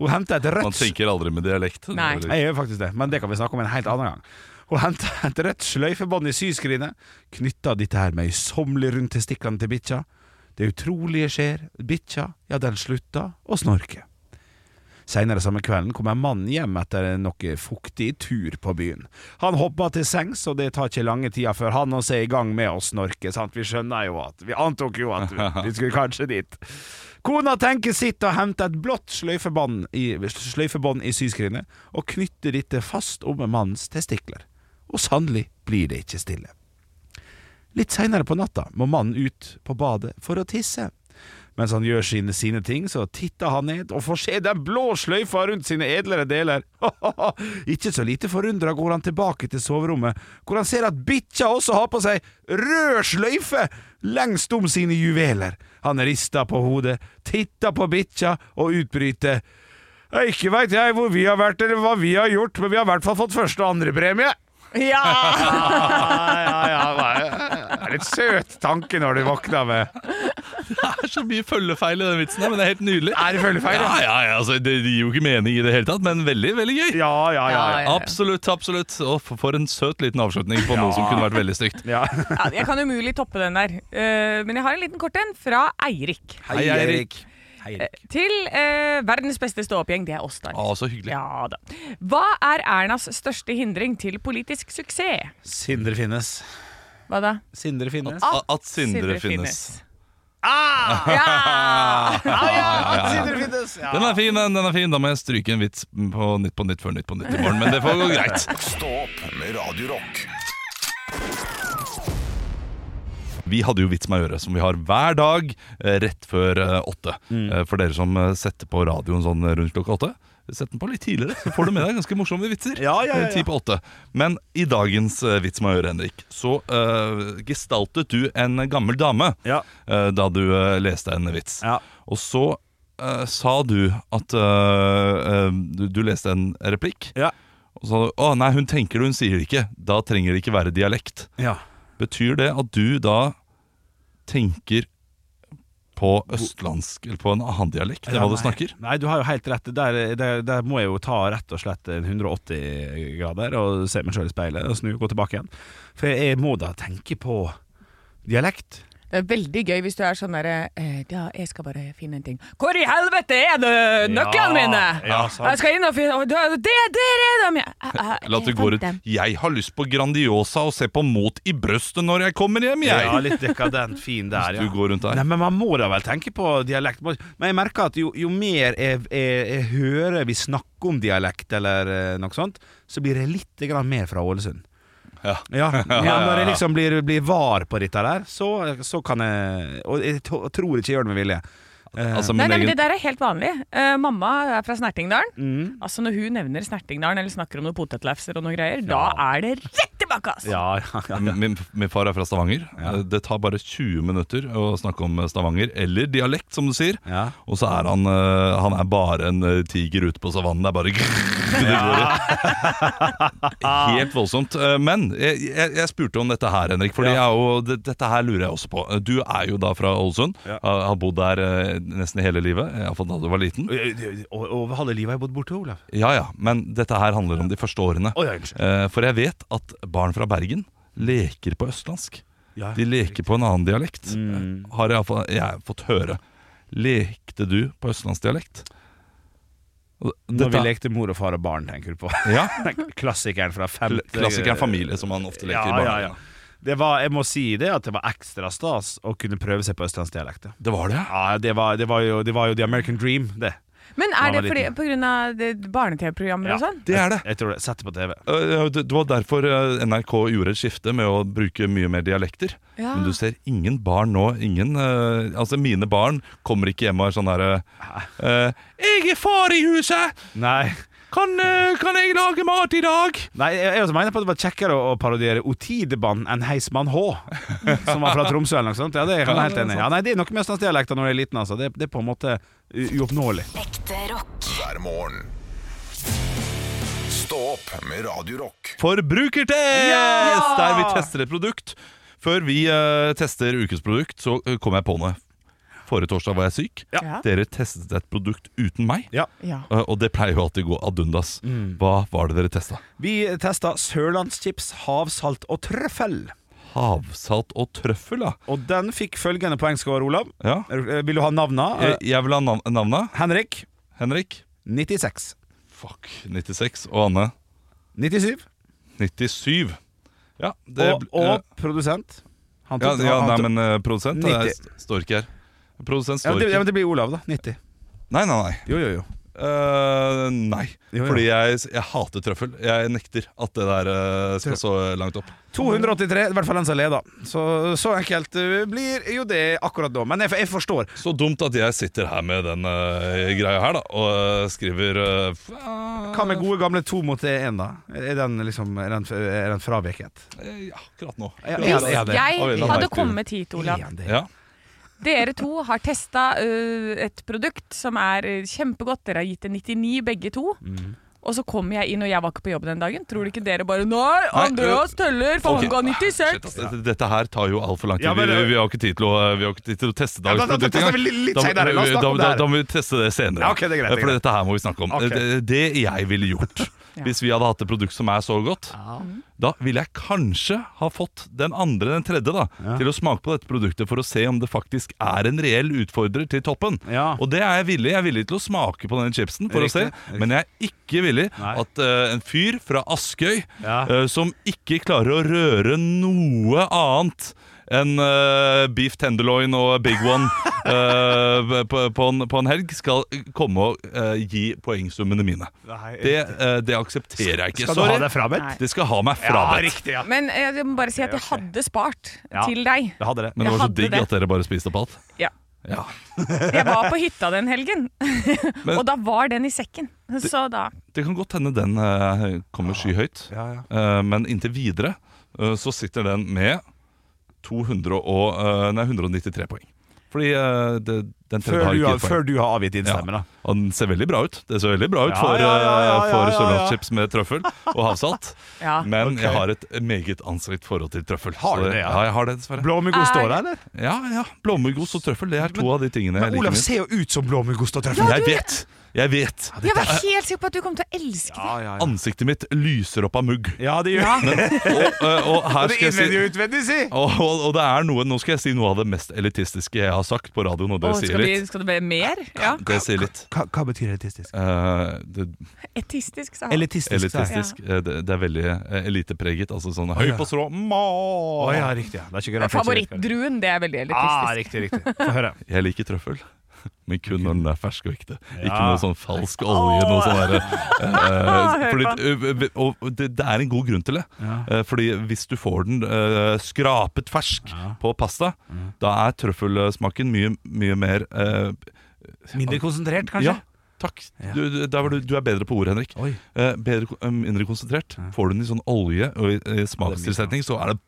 Speaker 7: hun henter et
Speaker 8: Man
Speaker 7: rødt
Speaker 8: tenker aldri med dialekt.
Speaker 6: Nei.
Speaker 7: jeg gjør faktisk det, men det kan vi snakke om en helt annen gang. Hun henta et rødt sløyfebånd i syskrinet, knytta dette her møysommelig rundt testiklene til bikkja. Det utrolige skjer, bikkja, ja, den slutta å snorke. Senere samme kvelden kommer mannen hjem etter noe fuktig tur på byen. Han hopper til sengs, og det tar ikke lange tida før han også er i gang med å snorke. Sant? Vi skjønner jo at Vi antok jo at du, du skulle kanskje dit. Kona tenker sitt og henter et blått sløyfebånd i, sløyfebånd i syskrinet, og knytter dette fast om mannens testikler. Og sannelig blir det ikke stille. Litt seinere på natta må mannen ut på badet for å tisse. Mens han gjør sine, sine ting, så titter han ned og får se den blå sløyfa rundt sine edlere deler. [laughs] Ikke så lite forundra går han tilbake til soverommet, hvor han ser at bikkja også har på seg rød sløyfe lengst om sine juveler. Han rister på hodet, titter på bikkja og utbryter. «Ja, Ikke veit jeg hvor vi har vært eller hva vi har gjort, men vi har i hvert fall fått første og andre premie.
Speaker 6: Ja!
Speaker 7: [laughs] ja, ja, ja. Det er litt søt tanke når du våkner med.
Speaker 8: Det er så mye følgefeil i den vitsen, her, men det er helt nydelig.
Speaker 7: Er det følgefeil?
Speaker 8: Ja, ja, ja, altså, Det gir jo ikke mening i det hele tatt, men veldig veldig gøy.
Speaker 7: ja, ja, ja.
Speaker 8: Absolutt. absolutt Og for- For en søt liten avslutning på noe som kunne vært veldig stygt.
Speaker 6: Ja, jeg kan umulig toppe den der. Eh, Men jeg har en liten kort en fra Eirik.
Speaker 8: Hei, Eirik.
Speaker 6: Eh, Til eh, verdens beste stå-opp-gjeng, det er oss, da.
Speaker 8: Å, så hyggelig.
Speaker 6: Ja da. Hva er Ernas største hindring til politisk suksess?
Speaker 7: Sindre finnes.
Speaker 6: Hva da?
Speaker 7: Sindre finnes.
Speaker 8: At, at Sindre, finnes.
Speaker 7: Ah!
Speaker 8: [laughs]
Speaker 6: Ja!
Speaker 8: ja, ja.
Speaker 7: Sindre finnes. Ja.
Speaker 8: Den er fin, den, den er fin. Da må jeg stryke en vits på Nytt på Nytt før Nytt på Nytt i morgen, men det får gå greit.
Speaker 9: Stå opp med Radio Rock.
Speaker 8: Vi hadde jo Vits meg øre, som vi har hver dag eh, rett før eh, åtte.
Speaker 7: Mm.
Speaker 8: Eh, For dere som eh, setter på radioen sånn rundt klokka åtte. Sett den på litt tidligere, så får du med deg ganske morsomme vitser.
Speaker 7: ja, ja.
Speaker 8: Eh, Ti på åtte. Men i dagens eh, Vits meg øre, Henrik, så eh, gestaltet du en gammel dame eh, da du eh, leste en vits. Og så eh, sa du at eh, eh, du, du leste en replikk. Og så sa du å nei, hun tenker det, hun sier det ikke. Da trenger det ikke være dialekt.
Speaker 7: Ja.
Speaker 8: Betyr det at du da tenker på østlandsk eller på en annen dialekt enn hva du
Speaker 7: nei.
Speaker 8: snakker?
Speaker 7: Nei, du har jo helt rett. Der, der, der må jeg jo ta rett og slett en 180 grader og se meg sjøl i speilet og snu og gå tilbake igjen. For jeg må da tenke på dialekt.
Speaker 6: Det er veldig gøy hvis du er sånn derre eh, Ja, jeg skal bare finne en ting. Hvor i helvete er det
Speaker 8: Ja,
Speaker 6: nøklene mine?!
Speaker 8: ja, sant.
Speaker 6: jeg skal inn og finne og da- Det, der er de! ja.
Speaker 8: [laughs]
Speaker 6: Eh, eh,
Speaker 8: Eller at det
Speaker 6: jeg
Speaker 8: går
Speaker 6: fant
Speaker 8: ut
Speaker 6: dem.
Speaker 8: 'Jeg har lyst på Grandiosa og se på Mot i brøstet når jeg kommer hjem', jeg.
Speaker 7: Ja, litt dekadent fin der, ja.
Speaker 8: Hvis du går rundt der.
Speaker 7: Nei, men man må da vel tenke på dialekt. Må- Men jeg merker at jo, jo mer jeg, jeg, jeg hører vi snakker om dialekt eller eh, noe sånt, så blir jeg litt grann mer fra Ålesund.
Speaker 8: [laughs] Ja.
Speaker 7: Ja,
Speaker 8: ja,
Speaker 7: ja, når jeg
Speaker 8: ja.
Speaker 7: liksom blir, blir var på dette der, så, så kan jeg Og jeg to- tror ikke jeg gjør det med vilje. Eh,
Speaker 8: Altså,
Speaker 6: Nei, nei, men Det der er helt vanlig. Eh, mamma er fra Snertingdalen.
Speaker 7: Mm.
Speaker 6: Altså Når hun nevner Snertingdalen eller snakker om noen potetlefser, og noe greier, da er det rett tilbake! altså. ass.
Speaker 8: Min, min far er fra Stavanger. Det tar bare 20 minutter å snakke om Stavanger, eller dialekt, som du sier. Og så er han, eh, han er bare en eh, tiger ute på savannen. Det er bare grrr, det går i. Helt voldsomt. Eh, Men jeg, jeg, jeg spurte om dette her, Henrik, for dette her lurer jeg også på. Eh, Du er jo da fra Ålesund. Har har bodd der eh, nesten hele livet, iallfall da du var liten.
Speaker 7: og- Over halve livet har jeg bodd borte, Olav.
Speaker 8: Ja, ja, men dette her handler om de første årene.
Speaker 7: Å, ja, unnskyld.
Speaker 8: Eh, For jeg vet at barn fra Bergen leker på østlandsk.
Speaker 7: Ja,
Speaker 8: De leker på en annen dialekt,
Speaker 7: Mm.
Speaker 8: har jeg, fått- jeg har fått høre. Lekte du på østlandsdialekt? Og
Speaker 7: Når vi
Speaker 8: dette-
Speaker 7: lekte mor og far og barn, tenker du på.
Speaker 8: Ja.
Speaker 7: [laughs] Klassikeren fra
Speaker 8: Kl-
Speaker 7: femte
Speaker 8: Klassikeren familie, som man ofte leker i
Speaker 7: eh, Ja, ja,
Speaker 8: barnehagen.
Speaker 7: ja. Det var, jeg må si det at det var ekstra stas å kunne prøve seg på østlandsdialekter.
Speaker 8: Det var det?
Speaker 7: Ja, det var, det var, jo, det var jo The American Dream, det.
Speaker 6: Men
Speaker 7: Da
Speaker 6: er
Speaker 7: var
Speaker 6: det fordi,
Speaker 7: liten.
Speaker 6: på grunn av det- barne-TV-programmer og sånn?
Speaker 8: Det er det.
Speaker 7: Jeg tror det. Sett det på TV.
Speaker 8: Eh, Det det var derfor eh, NRK gjorde et skifte med å bruke mye mer dialekter.
Speaker 6: Ja.
Speaker 8: Men du ser ingen barn nå. Ingen, eh, altså Mine barn kommer ikke hjem og er sånn derre Jeg er far i huset!
Speaker 7: Nei.
Speaker 8: Kan, eh, kan jeg lage mat i dag?
Speaker 7: Nei, jeg, jeg også mener på at det var kjekkere å å parodiere Otidebanen enn Heismann H, som var fra Tromsø eller noe sånt. Ja, det er jeg helt enig i. Ja, nei, det er noe med østlandsdialekter når jeg er liten, altså. Det, det er på en måte u- uoppnåelig.
Speaker 9: Hver morgen. Stå opp med Radio Rock.
Speaker 8: Forbrukertest!
Speaker 9: Ja!
Speaker 8: Der vi tester et produkt. Før vi eh, tester ukens produkt, så eh, kom jeg på noe. Forrige torsdag var jeg syk.
Speaker 6: Ja.
Speaker 8: Dere testet et produkt uten meg.
Speaker 6: Ja.
Speaker 8: Eh, og det pleier jo alltid å gå ad undas.
Speaker 7: Mm.
Speaker 8: Hva var det dere testa?
Speaker 7: Vi testa sørlandschips, havsalt og trøffel.
Speaker 8: Havsalt og trøffel, da.
Speaker 7: Og den fikk følgende poengscore, Olav.
Speaker 8: Ja.
Speaker 7: Eh, Vil du ha navna?
Speaker 8: Jeg, jeg vil ha nav navnet.
Speaker 7: Henrik.
Speaker 8: Henrik.
Speaker 7: 96.
Speaker 8: Fuck. 96. Og Anne?
Speaker 7: 97.
Speaker 8: 97. Ja, eh,
Speaker 7: og og produsent. Han
Speaker 8: ja,
Speaker 7: tok-
Speaker 8: ja,
Speaker 7: han
Speaker 8: nei,
Speaker 7: tok-
Speaker 8: men eh, produsent det er,
Speaker 7: 90.
Speaker 8: st- står ikke her. Produsent
Speaker 7: ja,
Speaker 8: står
Speaker 7: det, ja,
Speaker 8: ikke
Speaker 7: men det blir Olav, da. 90.
Speaker 8: Nei, nei, nei.
Speaker 7: Jo, jo, jo.
Speaker 8: Eh, nei.
Speaker 7: jo.
Speaker 8: Fordi jeg, jeg hater trøffel. Jeg nekter at det der eh, skal så langt opp.
Speaker 7: 283, i hvert fall den som leder. Så, så enkelt eh, blir jo det akkurat da. Men jeg, jeg forstår.
Speaker 8: Så dumt at jeg sitter her med den eh, greia her, da, og eh, skriver eh, f-
Speaker 7: Hva med gode gamle to mot én, da? Er den, liksom, er den, er den fraveket?
Speaker 8: Ja, eh, akkurat nå.
Speaker 7: Ja, ja,
Speaker 6: Hvis
Speaker 7: det er det.
Speaker 6: jeg
Speaker 7: Oi, la
Speaker 6: hadde
Speaker 7: meg
Speaker 6: kommet hit, Olav
Speaker 8: Ja.
Speaker 6: Dere to har testa ø, et produkt som er ø, kjempegodt. Dere har gitt det 99 begge to. Og så kommer jeg inn, og jeg var ikke på jobb den dagen. Tror ikke dere bare Nei, Andreas Tøller, for
Speaker 8: Ok.
Speaker 6: han ga 96!
Speaker 8: Dette, dette her tar jo altfor lang tid.
Speaker 7: Ah, Ja, men-
Speaker 8: vi, vi, har ikke tid til å, eh, vi har ikke tid til å teste dagens
Speaker 7: Ja, da- da- da
Speaker 8: produkt
Speaker 7: tester
Speaker 8: engang.
Speaker 7: vi litt- litt
Speaker 8: Da-
Speaker 7: senere. La oss snakke
Speaker 8: da-
Speaker 7: om det
Speaker 8: da-
Speaker 7: her.
Speaker 8: Da må vi teste det senere.
Speaker 7: Ja, ok, det er greit, det er
Speaker 8: For
Speaker 7: greit.
Speaker 8: dette her må vi snakke om.
Speaker 7: Ok.
Speaker 8: Det, det jeg ville
Speaker 7: [laughs]
Speaker 8: gjort hvis vi hadde hatt et produkt som er så godt, da ville jeg kanskje ha fått den andre, den tredje, da, til å smake på dette produktet for å se om det faktisk er en reell utfordrer til toppen. Og det er jeg villig. Jeg er villig til å smake på den chipsen for
Speaker 7: Ah. Riktig,
Speaker 8: å se, men jeg er ikke villig at eh, en fyr fra Askøy eh, som ikke klarer å røre noe annet enn eh, beef tenderloin og big
Speaker 7: [laughs]
Speaker 8: one eh, på, på, en, på en helg, skal komme og eh, gi poengsummene mine.
Speaker 7: Nei,
Speaker 8: det, eh, det aksepterer jeg ikke.
Speaker 7: Skal du ha deg frabedt?
Speaker 8: Sorry. Det skal ha meg
Speaker 7: Ja,
Speaker 8: frabedt.
Speaker 7: riktig, ja.
Speaker 6: Men eh, jeg må bare si at jeg hadde spart
Speaker 8: Ja.
Speaker 6: til deg.
Speaker 8: Jeg hadde det. Men det
Speaker 6: Jeg
Speaker 8: var så
Speaker 6: hadde
Speaker 8: digg
Speaker 6: det.
Speaker 8: at dere bare spiste opp alt.
Speaker 6: Ja.
Speaker 8: Ja.
Speaker 6: Jeg var på hytta den helgen, [laughs]
Speaker 8: Men-
Speaker 6: og da var den i sekken. Så da
Speaker 8: Det kan godt hende den eh, kommer skyhøyt, Eh, men inntil videre eh, så sitter den med 200 og, eh, nei, 193 poeng. Fordi eh, det, den tredje
Speaker 7: Før
Speaker 8: har
Speaker 7: du
Speaker 8: ikke
Speaker 7: har,
Speaker 8: gitt poeng.
Speaker 7: før du har avgitt din
Speaker 8: Ja.
Speaker 7: stemme, da.
Speaker 8: Og den ser veldig bra ut. Det ser veldig bra ut
Speaker 7: Ja,
Speaker 8: for,
Speaker 7: ja, ja, ja,
Speaker 8: eh, for
Speaker 7: ja, ja, ja.
Speaker 8: sørlandschips med trøffel og
Speaker 7: [laughs]
Speaker 8: havsalt.
Speaker 6: Ja.
Speaker 8: Men
Speaker 7: Ok.
Speaker 8: jeg har et meget anstrengt forhold til trøffel.
Speaker 7: Har du
Speaker 8: Så
Speaker 7: det, ja?
Speaker 8: ja? jeg har det, dessverre.
Speaker 7: Blåmuggost står der, eller?
Speaker 8: Ja, ja. Blåmuggost og trøffel, det er to av de tingene jeg
Speaker 7: Men
Speaker 8: liker
Speaker 7: Olav
Speaker 8: minst.
Speaker 7: ser jo ut som blåmuggost og trøffel.
Speaker 8: Jeg vet! Jeg vet.
Speaker 6: Jeg var helt sikker på at du kom til å elske det.
Speaker 8: Ansiktet mitt lyser opp av mugg.
Speaker 7: Ja, det gjør
Speaker 8: Men, og, og, og her
Speaker 7: Både
Speaker 8: skal jeg si
Speaker 7: innvendig og utvendig, si!
Speaker 8: og, og, og det er noe, Nå skal jeg si noe av det mest elitistiske jeg har sagt på radioen, og det
Speaker 6: Å,
Speaker 8: sier
Speaker 6: skal, vi,
Speaker 8: litt.
Speaker 6: skal det bli mer? Ja.
Speaker 8: Det sier litt.
Speaker 7: Hva, hva betyr elitistisk?
Speaker 8: Eh, det,
Speaker 6: Etistisk, sa han.
Speaker 7: Elitistisk. sa jeg.
Speaker 8: elitistisk. eh, Det, det er veldig eh, elitepreget. Altså sånn
Speaker 7: Å,
Speaker 8: høy
Speaker 7: ja.
Speaker 8: på strå.
Speaker 7: Å
Speaker 8: Ma!
Speaker 7: ja, riktig. Ja. Det er ikke rart.
Speaker 6: Favorittdruen, det er veldig
Speaker 7: Ah,
Speaker 6: elitistisk.
Speaker 7: riktig, riktig. Få høre.
Speaker 8: Jeg liker trøffel. [laughs] Men kun når den er fersk og ekte. Ikke
Speaker 7: Ja.
Speaker 8: noe sånn falsk olje. Noe sånn derre, eh,
Speaker 6: Hør
Speaker 8: fordi, og og det, det er en god grunn til det. Eh, Fordi hvis du får den eh, skrapet fersk på pasta, da er trøffelsmaken mye, mye mer eh,
Speaker 7: Mindre konsentrert,
Speaker 8: Ja,
Speaker 7: kanskje?
Speaker 8: takk. Du, du, der var du, du er bedre på ord, Henrik.
Speaker 7: Oi.
Speaker 8: Eh, bedre, ko- eh, mindre konsentrert. Får du den i sånn olje og i, i smakstilsetning, så er det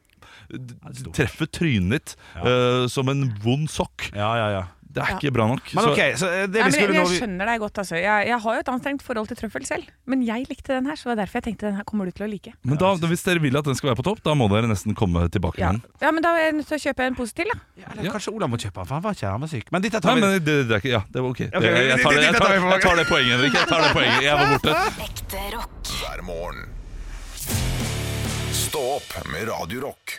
Speaker 8: d- Treffer trynet ditt eh, som en vond sokk.
Speaker 7: Ja, ja, ja.
Speaker 8: Det er ikke bra nok.
Speaker 7: Men
Speaker 8: Så-
Speaker 7: ok, så eh, det
Speaker 6: Nei, men
Speaker 7: vi
Speaker 6: jeg,
Speaker 7: skulle nå
Speaker 6: jeg skjønner deg godt. Altså. Jeg, jeg har jo et anstrengt forhold til trøffel selv, men jeg likte den her. Så det var derfor jeg tenkte den her kommer du til å like.
Speaker 8: Men da, hvis dere vil at den skal være på topp, da må dere nesten komme tilbake
Speaker 6: Ja,
Speaker 8: med den.
Speaker 6: ja men da er jeg nødt til å kjøpe en pose til, da.
Speaker 7: Ja, eller Kanskje Olav må kjøpe den, for han var ikke her, han var syk. Men dette
Speaker 8: Nei,
Speaker 7: tar vi
Speaker 8: men det, det er ikke Ja, det var ok. Det,
Speaker 7: Ok,
Speaker 8: jeg, tar det, jeg, tar,
Speaker 7: dette tar vi på
Speaker 8: jeg tar det poenget, Henrik. Jeg tar det poenget. Jeg var borte.
Speaker 9: hver morgen. Stå opp med Radio Rock.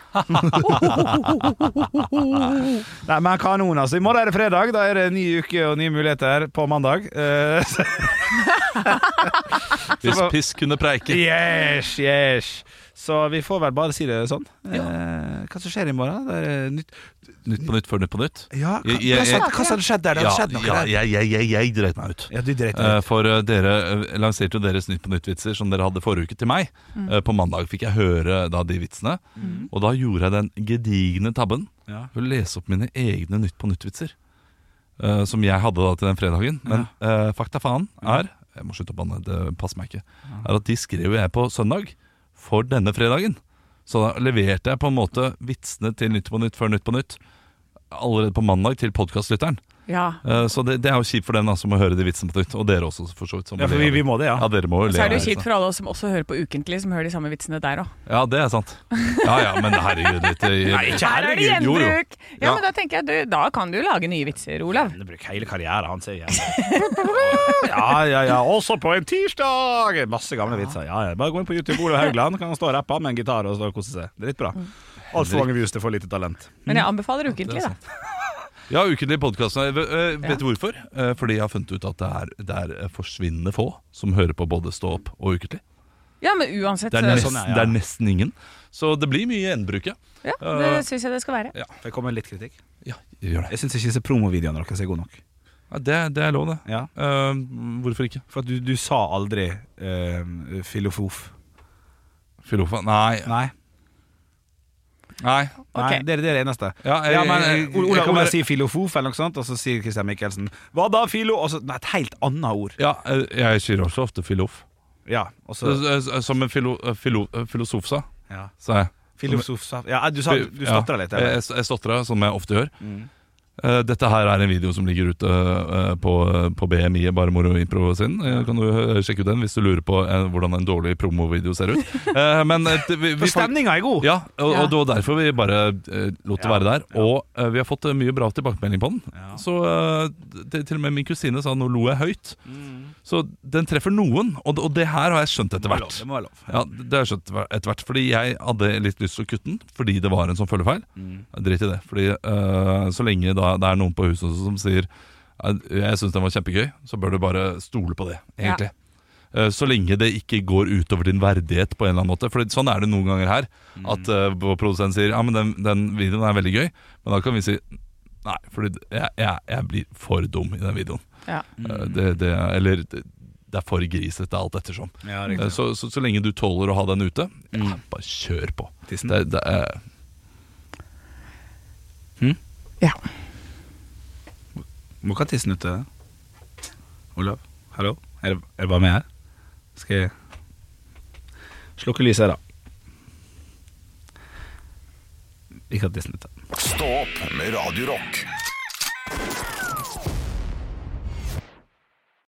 Speaker 7: Nei, men kanon, altså. I morgen er det fredag. Da er det en ny uke og nye muligheter på mandag. Eh, så-
Speaker 8: Hvis pisk kunne preike.
Speaker 7: yes, yes. Så vi får vel bare si det sånn. Eh, Hva som skjer i morgen? Det er nytt
Speaker 8: Nytt på nytt før Nytt på nytt.
Speaker 7: Ja, hva,
Speaker 8: Jeg- jeg-
Speaker 7: hva, som- hva som skjedde der? Det
Speaker 8: Ja,
Speaker 7: har skjedd noe
Speaker 8: ja,
Speaker 7: der.
Speaker 8: jeg, jeg, jeg, jeg dreit meg ut.
Speaker 7: Ja, du dreit deg
Speaker 8: Eh,
Speaker 7: ut.
Speaker 8: For eh, dere eh, lanserte jo deres Nytt på nytt-vitser som dere hadde forrige uke til meg. Eh, På mandag fikk jeg høre da de vitsene, og da gjorde jeg den gedigne tabben
Speaker 7: Ja.
Speaker 8: å lese opp mine egne Nytt på nytt-vitser. eh, Som jeg hadde da til den fredagen. Men eh, fakta faen er Jeg må slutte å banne, det passer meg ikke. Er at de skrev jeg på søndag for denne fredagen. Så da leverte jeg på en måte vitsene til Nytt på nytt før Nytt på nytt allerede på mandag til podkastlytteren.
Speaker 6: Ja.
Speaker 8: Eh, Så det, det er jo kjipt for dem da, som må høre de vitsene på nytt. Og dere også, for så vidt. som
Speaker 7: Ja, for vi, vi må det,
Speaker 8: Ja,
Speaker 7: ja.
Speaker 8: dere må jo le.
Speaker 6: Så er det
Speaker 8: av
Speaker 6: jo kjipt for alle oss som også hører på Ukentlig, som hører de samme vitsene der òg.
Speaker 8: Ja, det er sant. Ja, ja, men herregud, litt eh,
Speaker 7: [laughs]
Speaker 8: Nei,
Speaker 6: Her er det
Speaker 8: Jo, jo.
Speaker 6: gjenbruk! Ja,
Speaker 8: Ja.
Speaker 6: men da tenker jeg du, da kan du lage nye vitser, Olav.
Speaker 7: Bruk hele karrieren hans, sier jeg. Ja, ja, ja. Også på en tirsdag! Masse gamle vitser. Ja, ja. Bare gå inn på YouTube. Olav Haugland kan stå og rappe med en gitar Mm. og stå og kose seg. Dritbra. Altfor mange views til for lite talent.
Speaker 6: Men jeg anbefaler Ukentlig, da.
Speaker 8: Ja, ukentlig podkast. Vet
Speaker 13: Ja.
Speaker 8: du hvorfor? Eh, Fordi jeg har funnet ut at det er, det er eh, forsvinnende få som hører på både Stå opp og Ukentlig.
Speaker 6: Ja, men uansett
Speaker 8: Det er,
Speaker 6: så- Sånn,
Speaker 8: nesten, det er nesten ingen. Så det blir mye gjenbruk, ja.
Speaker 6: Ja,
Speaker 8: Eh,
Speaker 6: det syns jeg det skal være.
Speaker 7: Får jeg komme med litt kritikk?
Speaker 8: Gjør det.
Speaker 7: Jeg syns ikke disse promovideoene deres er gode nok.
Speaker 8: Ja, det, det er lov, det. Eh,
Speaker 7: Ja.
Speaker 8: hvorfor ikke?
Speaker 7: For at du, du sa aldri eh, filofof.
Speaker 8: Filofa? Nei.
Speaker 7: Nei.
Speaker 8: Nei.
Speaker 7: Nei, det er det er det eneste.
Speaker 8: Ja, jeg-
Speaker 7: ja, men,
Speaker 8: jeg-
Speaker 7: eh,
Speaker 8: jeg
Speaker 7: Ola,
Speaker 8: kommer-
Speaker 7: Ola sier filofof, eller noe sånt, og så sier Christian Michelsen 'hva da, filo?' Og så, nei, et helt annet ord.
Speaker 8: Ja, eh, jeg sier også ofte filof.
Speaker 7: Ja, og så-
Speaker 8: Eh, eh, Som en filo, eh, filo, eh, filosof sa,
Speaker 7: Ja.
Speaker 8: sa jeg.
Speaker 7: Filosof sa- ja, Eh, du sa- du stottret litt, eller?
Speaker 8: Jeg, jeg, jeg stottret, som jeg ofte gjør.
Speaker 7: Mm.
Speaker 8: Eh, dette her er en video som ligger ute eh, på, på BMI, Bare Moro Impro sin. Eh, kan du eh, sjekke ut den hvis du lurer på eh, hvordan en dårlig promovideo ser ut.
Speaker 7: [laughs]
Speaker 8: Eh, men, eh, det- vi,
Speaker 7: For stemninga er god!
Speaker 8: Ja, og,
Speaker 7: Ja.
Speaker 8: og det var derfor vi bare eh, lot det være der. Og eh, vi har fått eh, mye bra tilbakemelding på den. Så eh, det, Til og med min kusine sa 'nå lo jeg høyt'. Så den treffer noen, og, det- og det her har jeg skjønt etter hvert.
Speaker 7: Det Mm. må være lov.
Speaker 8: Ja, det har jeg skjønt etter hvert Fordi jeg hadde litt lyst til å kutte den Fordi det var en sånn følgefeil
Speaker 7: Mm.
Speaker 8: Drit i det Fordi eh, så lenge da, det er noen på huset også som sier eh, Jeg synes den var kjempegøy Så bør du bare stole på det, egentlig Eh, Så lenge det ikke går utover din verdighet på en eller annen måte Fordi sånn er det noen ganger her At eh, vår produsent sier Ja, men den, den videoen er veldig gøy Men da kan vi si Nei, fordi jeg, jeg, jeg blir for dum i den videoen
Speaker 6: Ja.
Speaker 8: Eh, det, det, Eller det, det er for grisete alt ettersom
Speaker 7: Ja, riktig. Mm.
Speaker 8: Eh, så, så, så lenge du tåler å ha den ute, ja, bare kjør på. Det, det er
Speaker 6: Ja.
Speaker 7: Må ikke ha tissen ute. Olav, hallo? Er det, er det bare meg her? Skal jeg slukke lyset her, da? Ikke ha tissen ute.
Speaker 9: Stå opp med Radio Rock.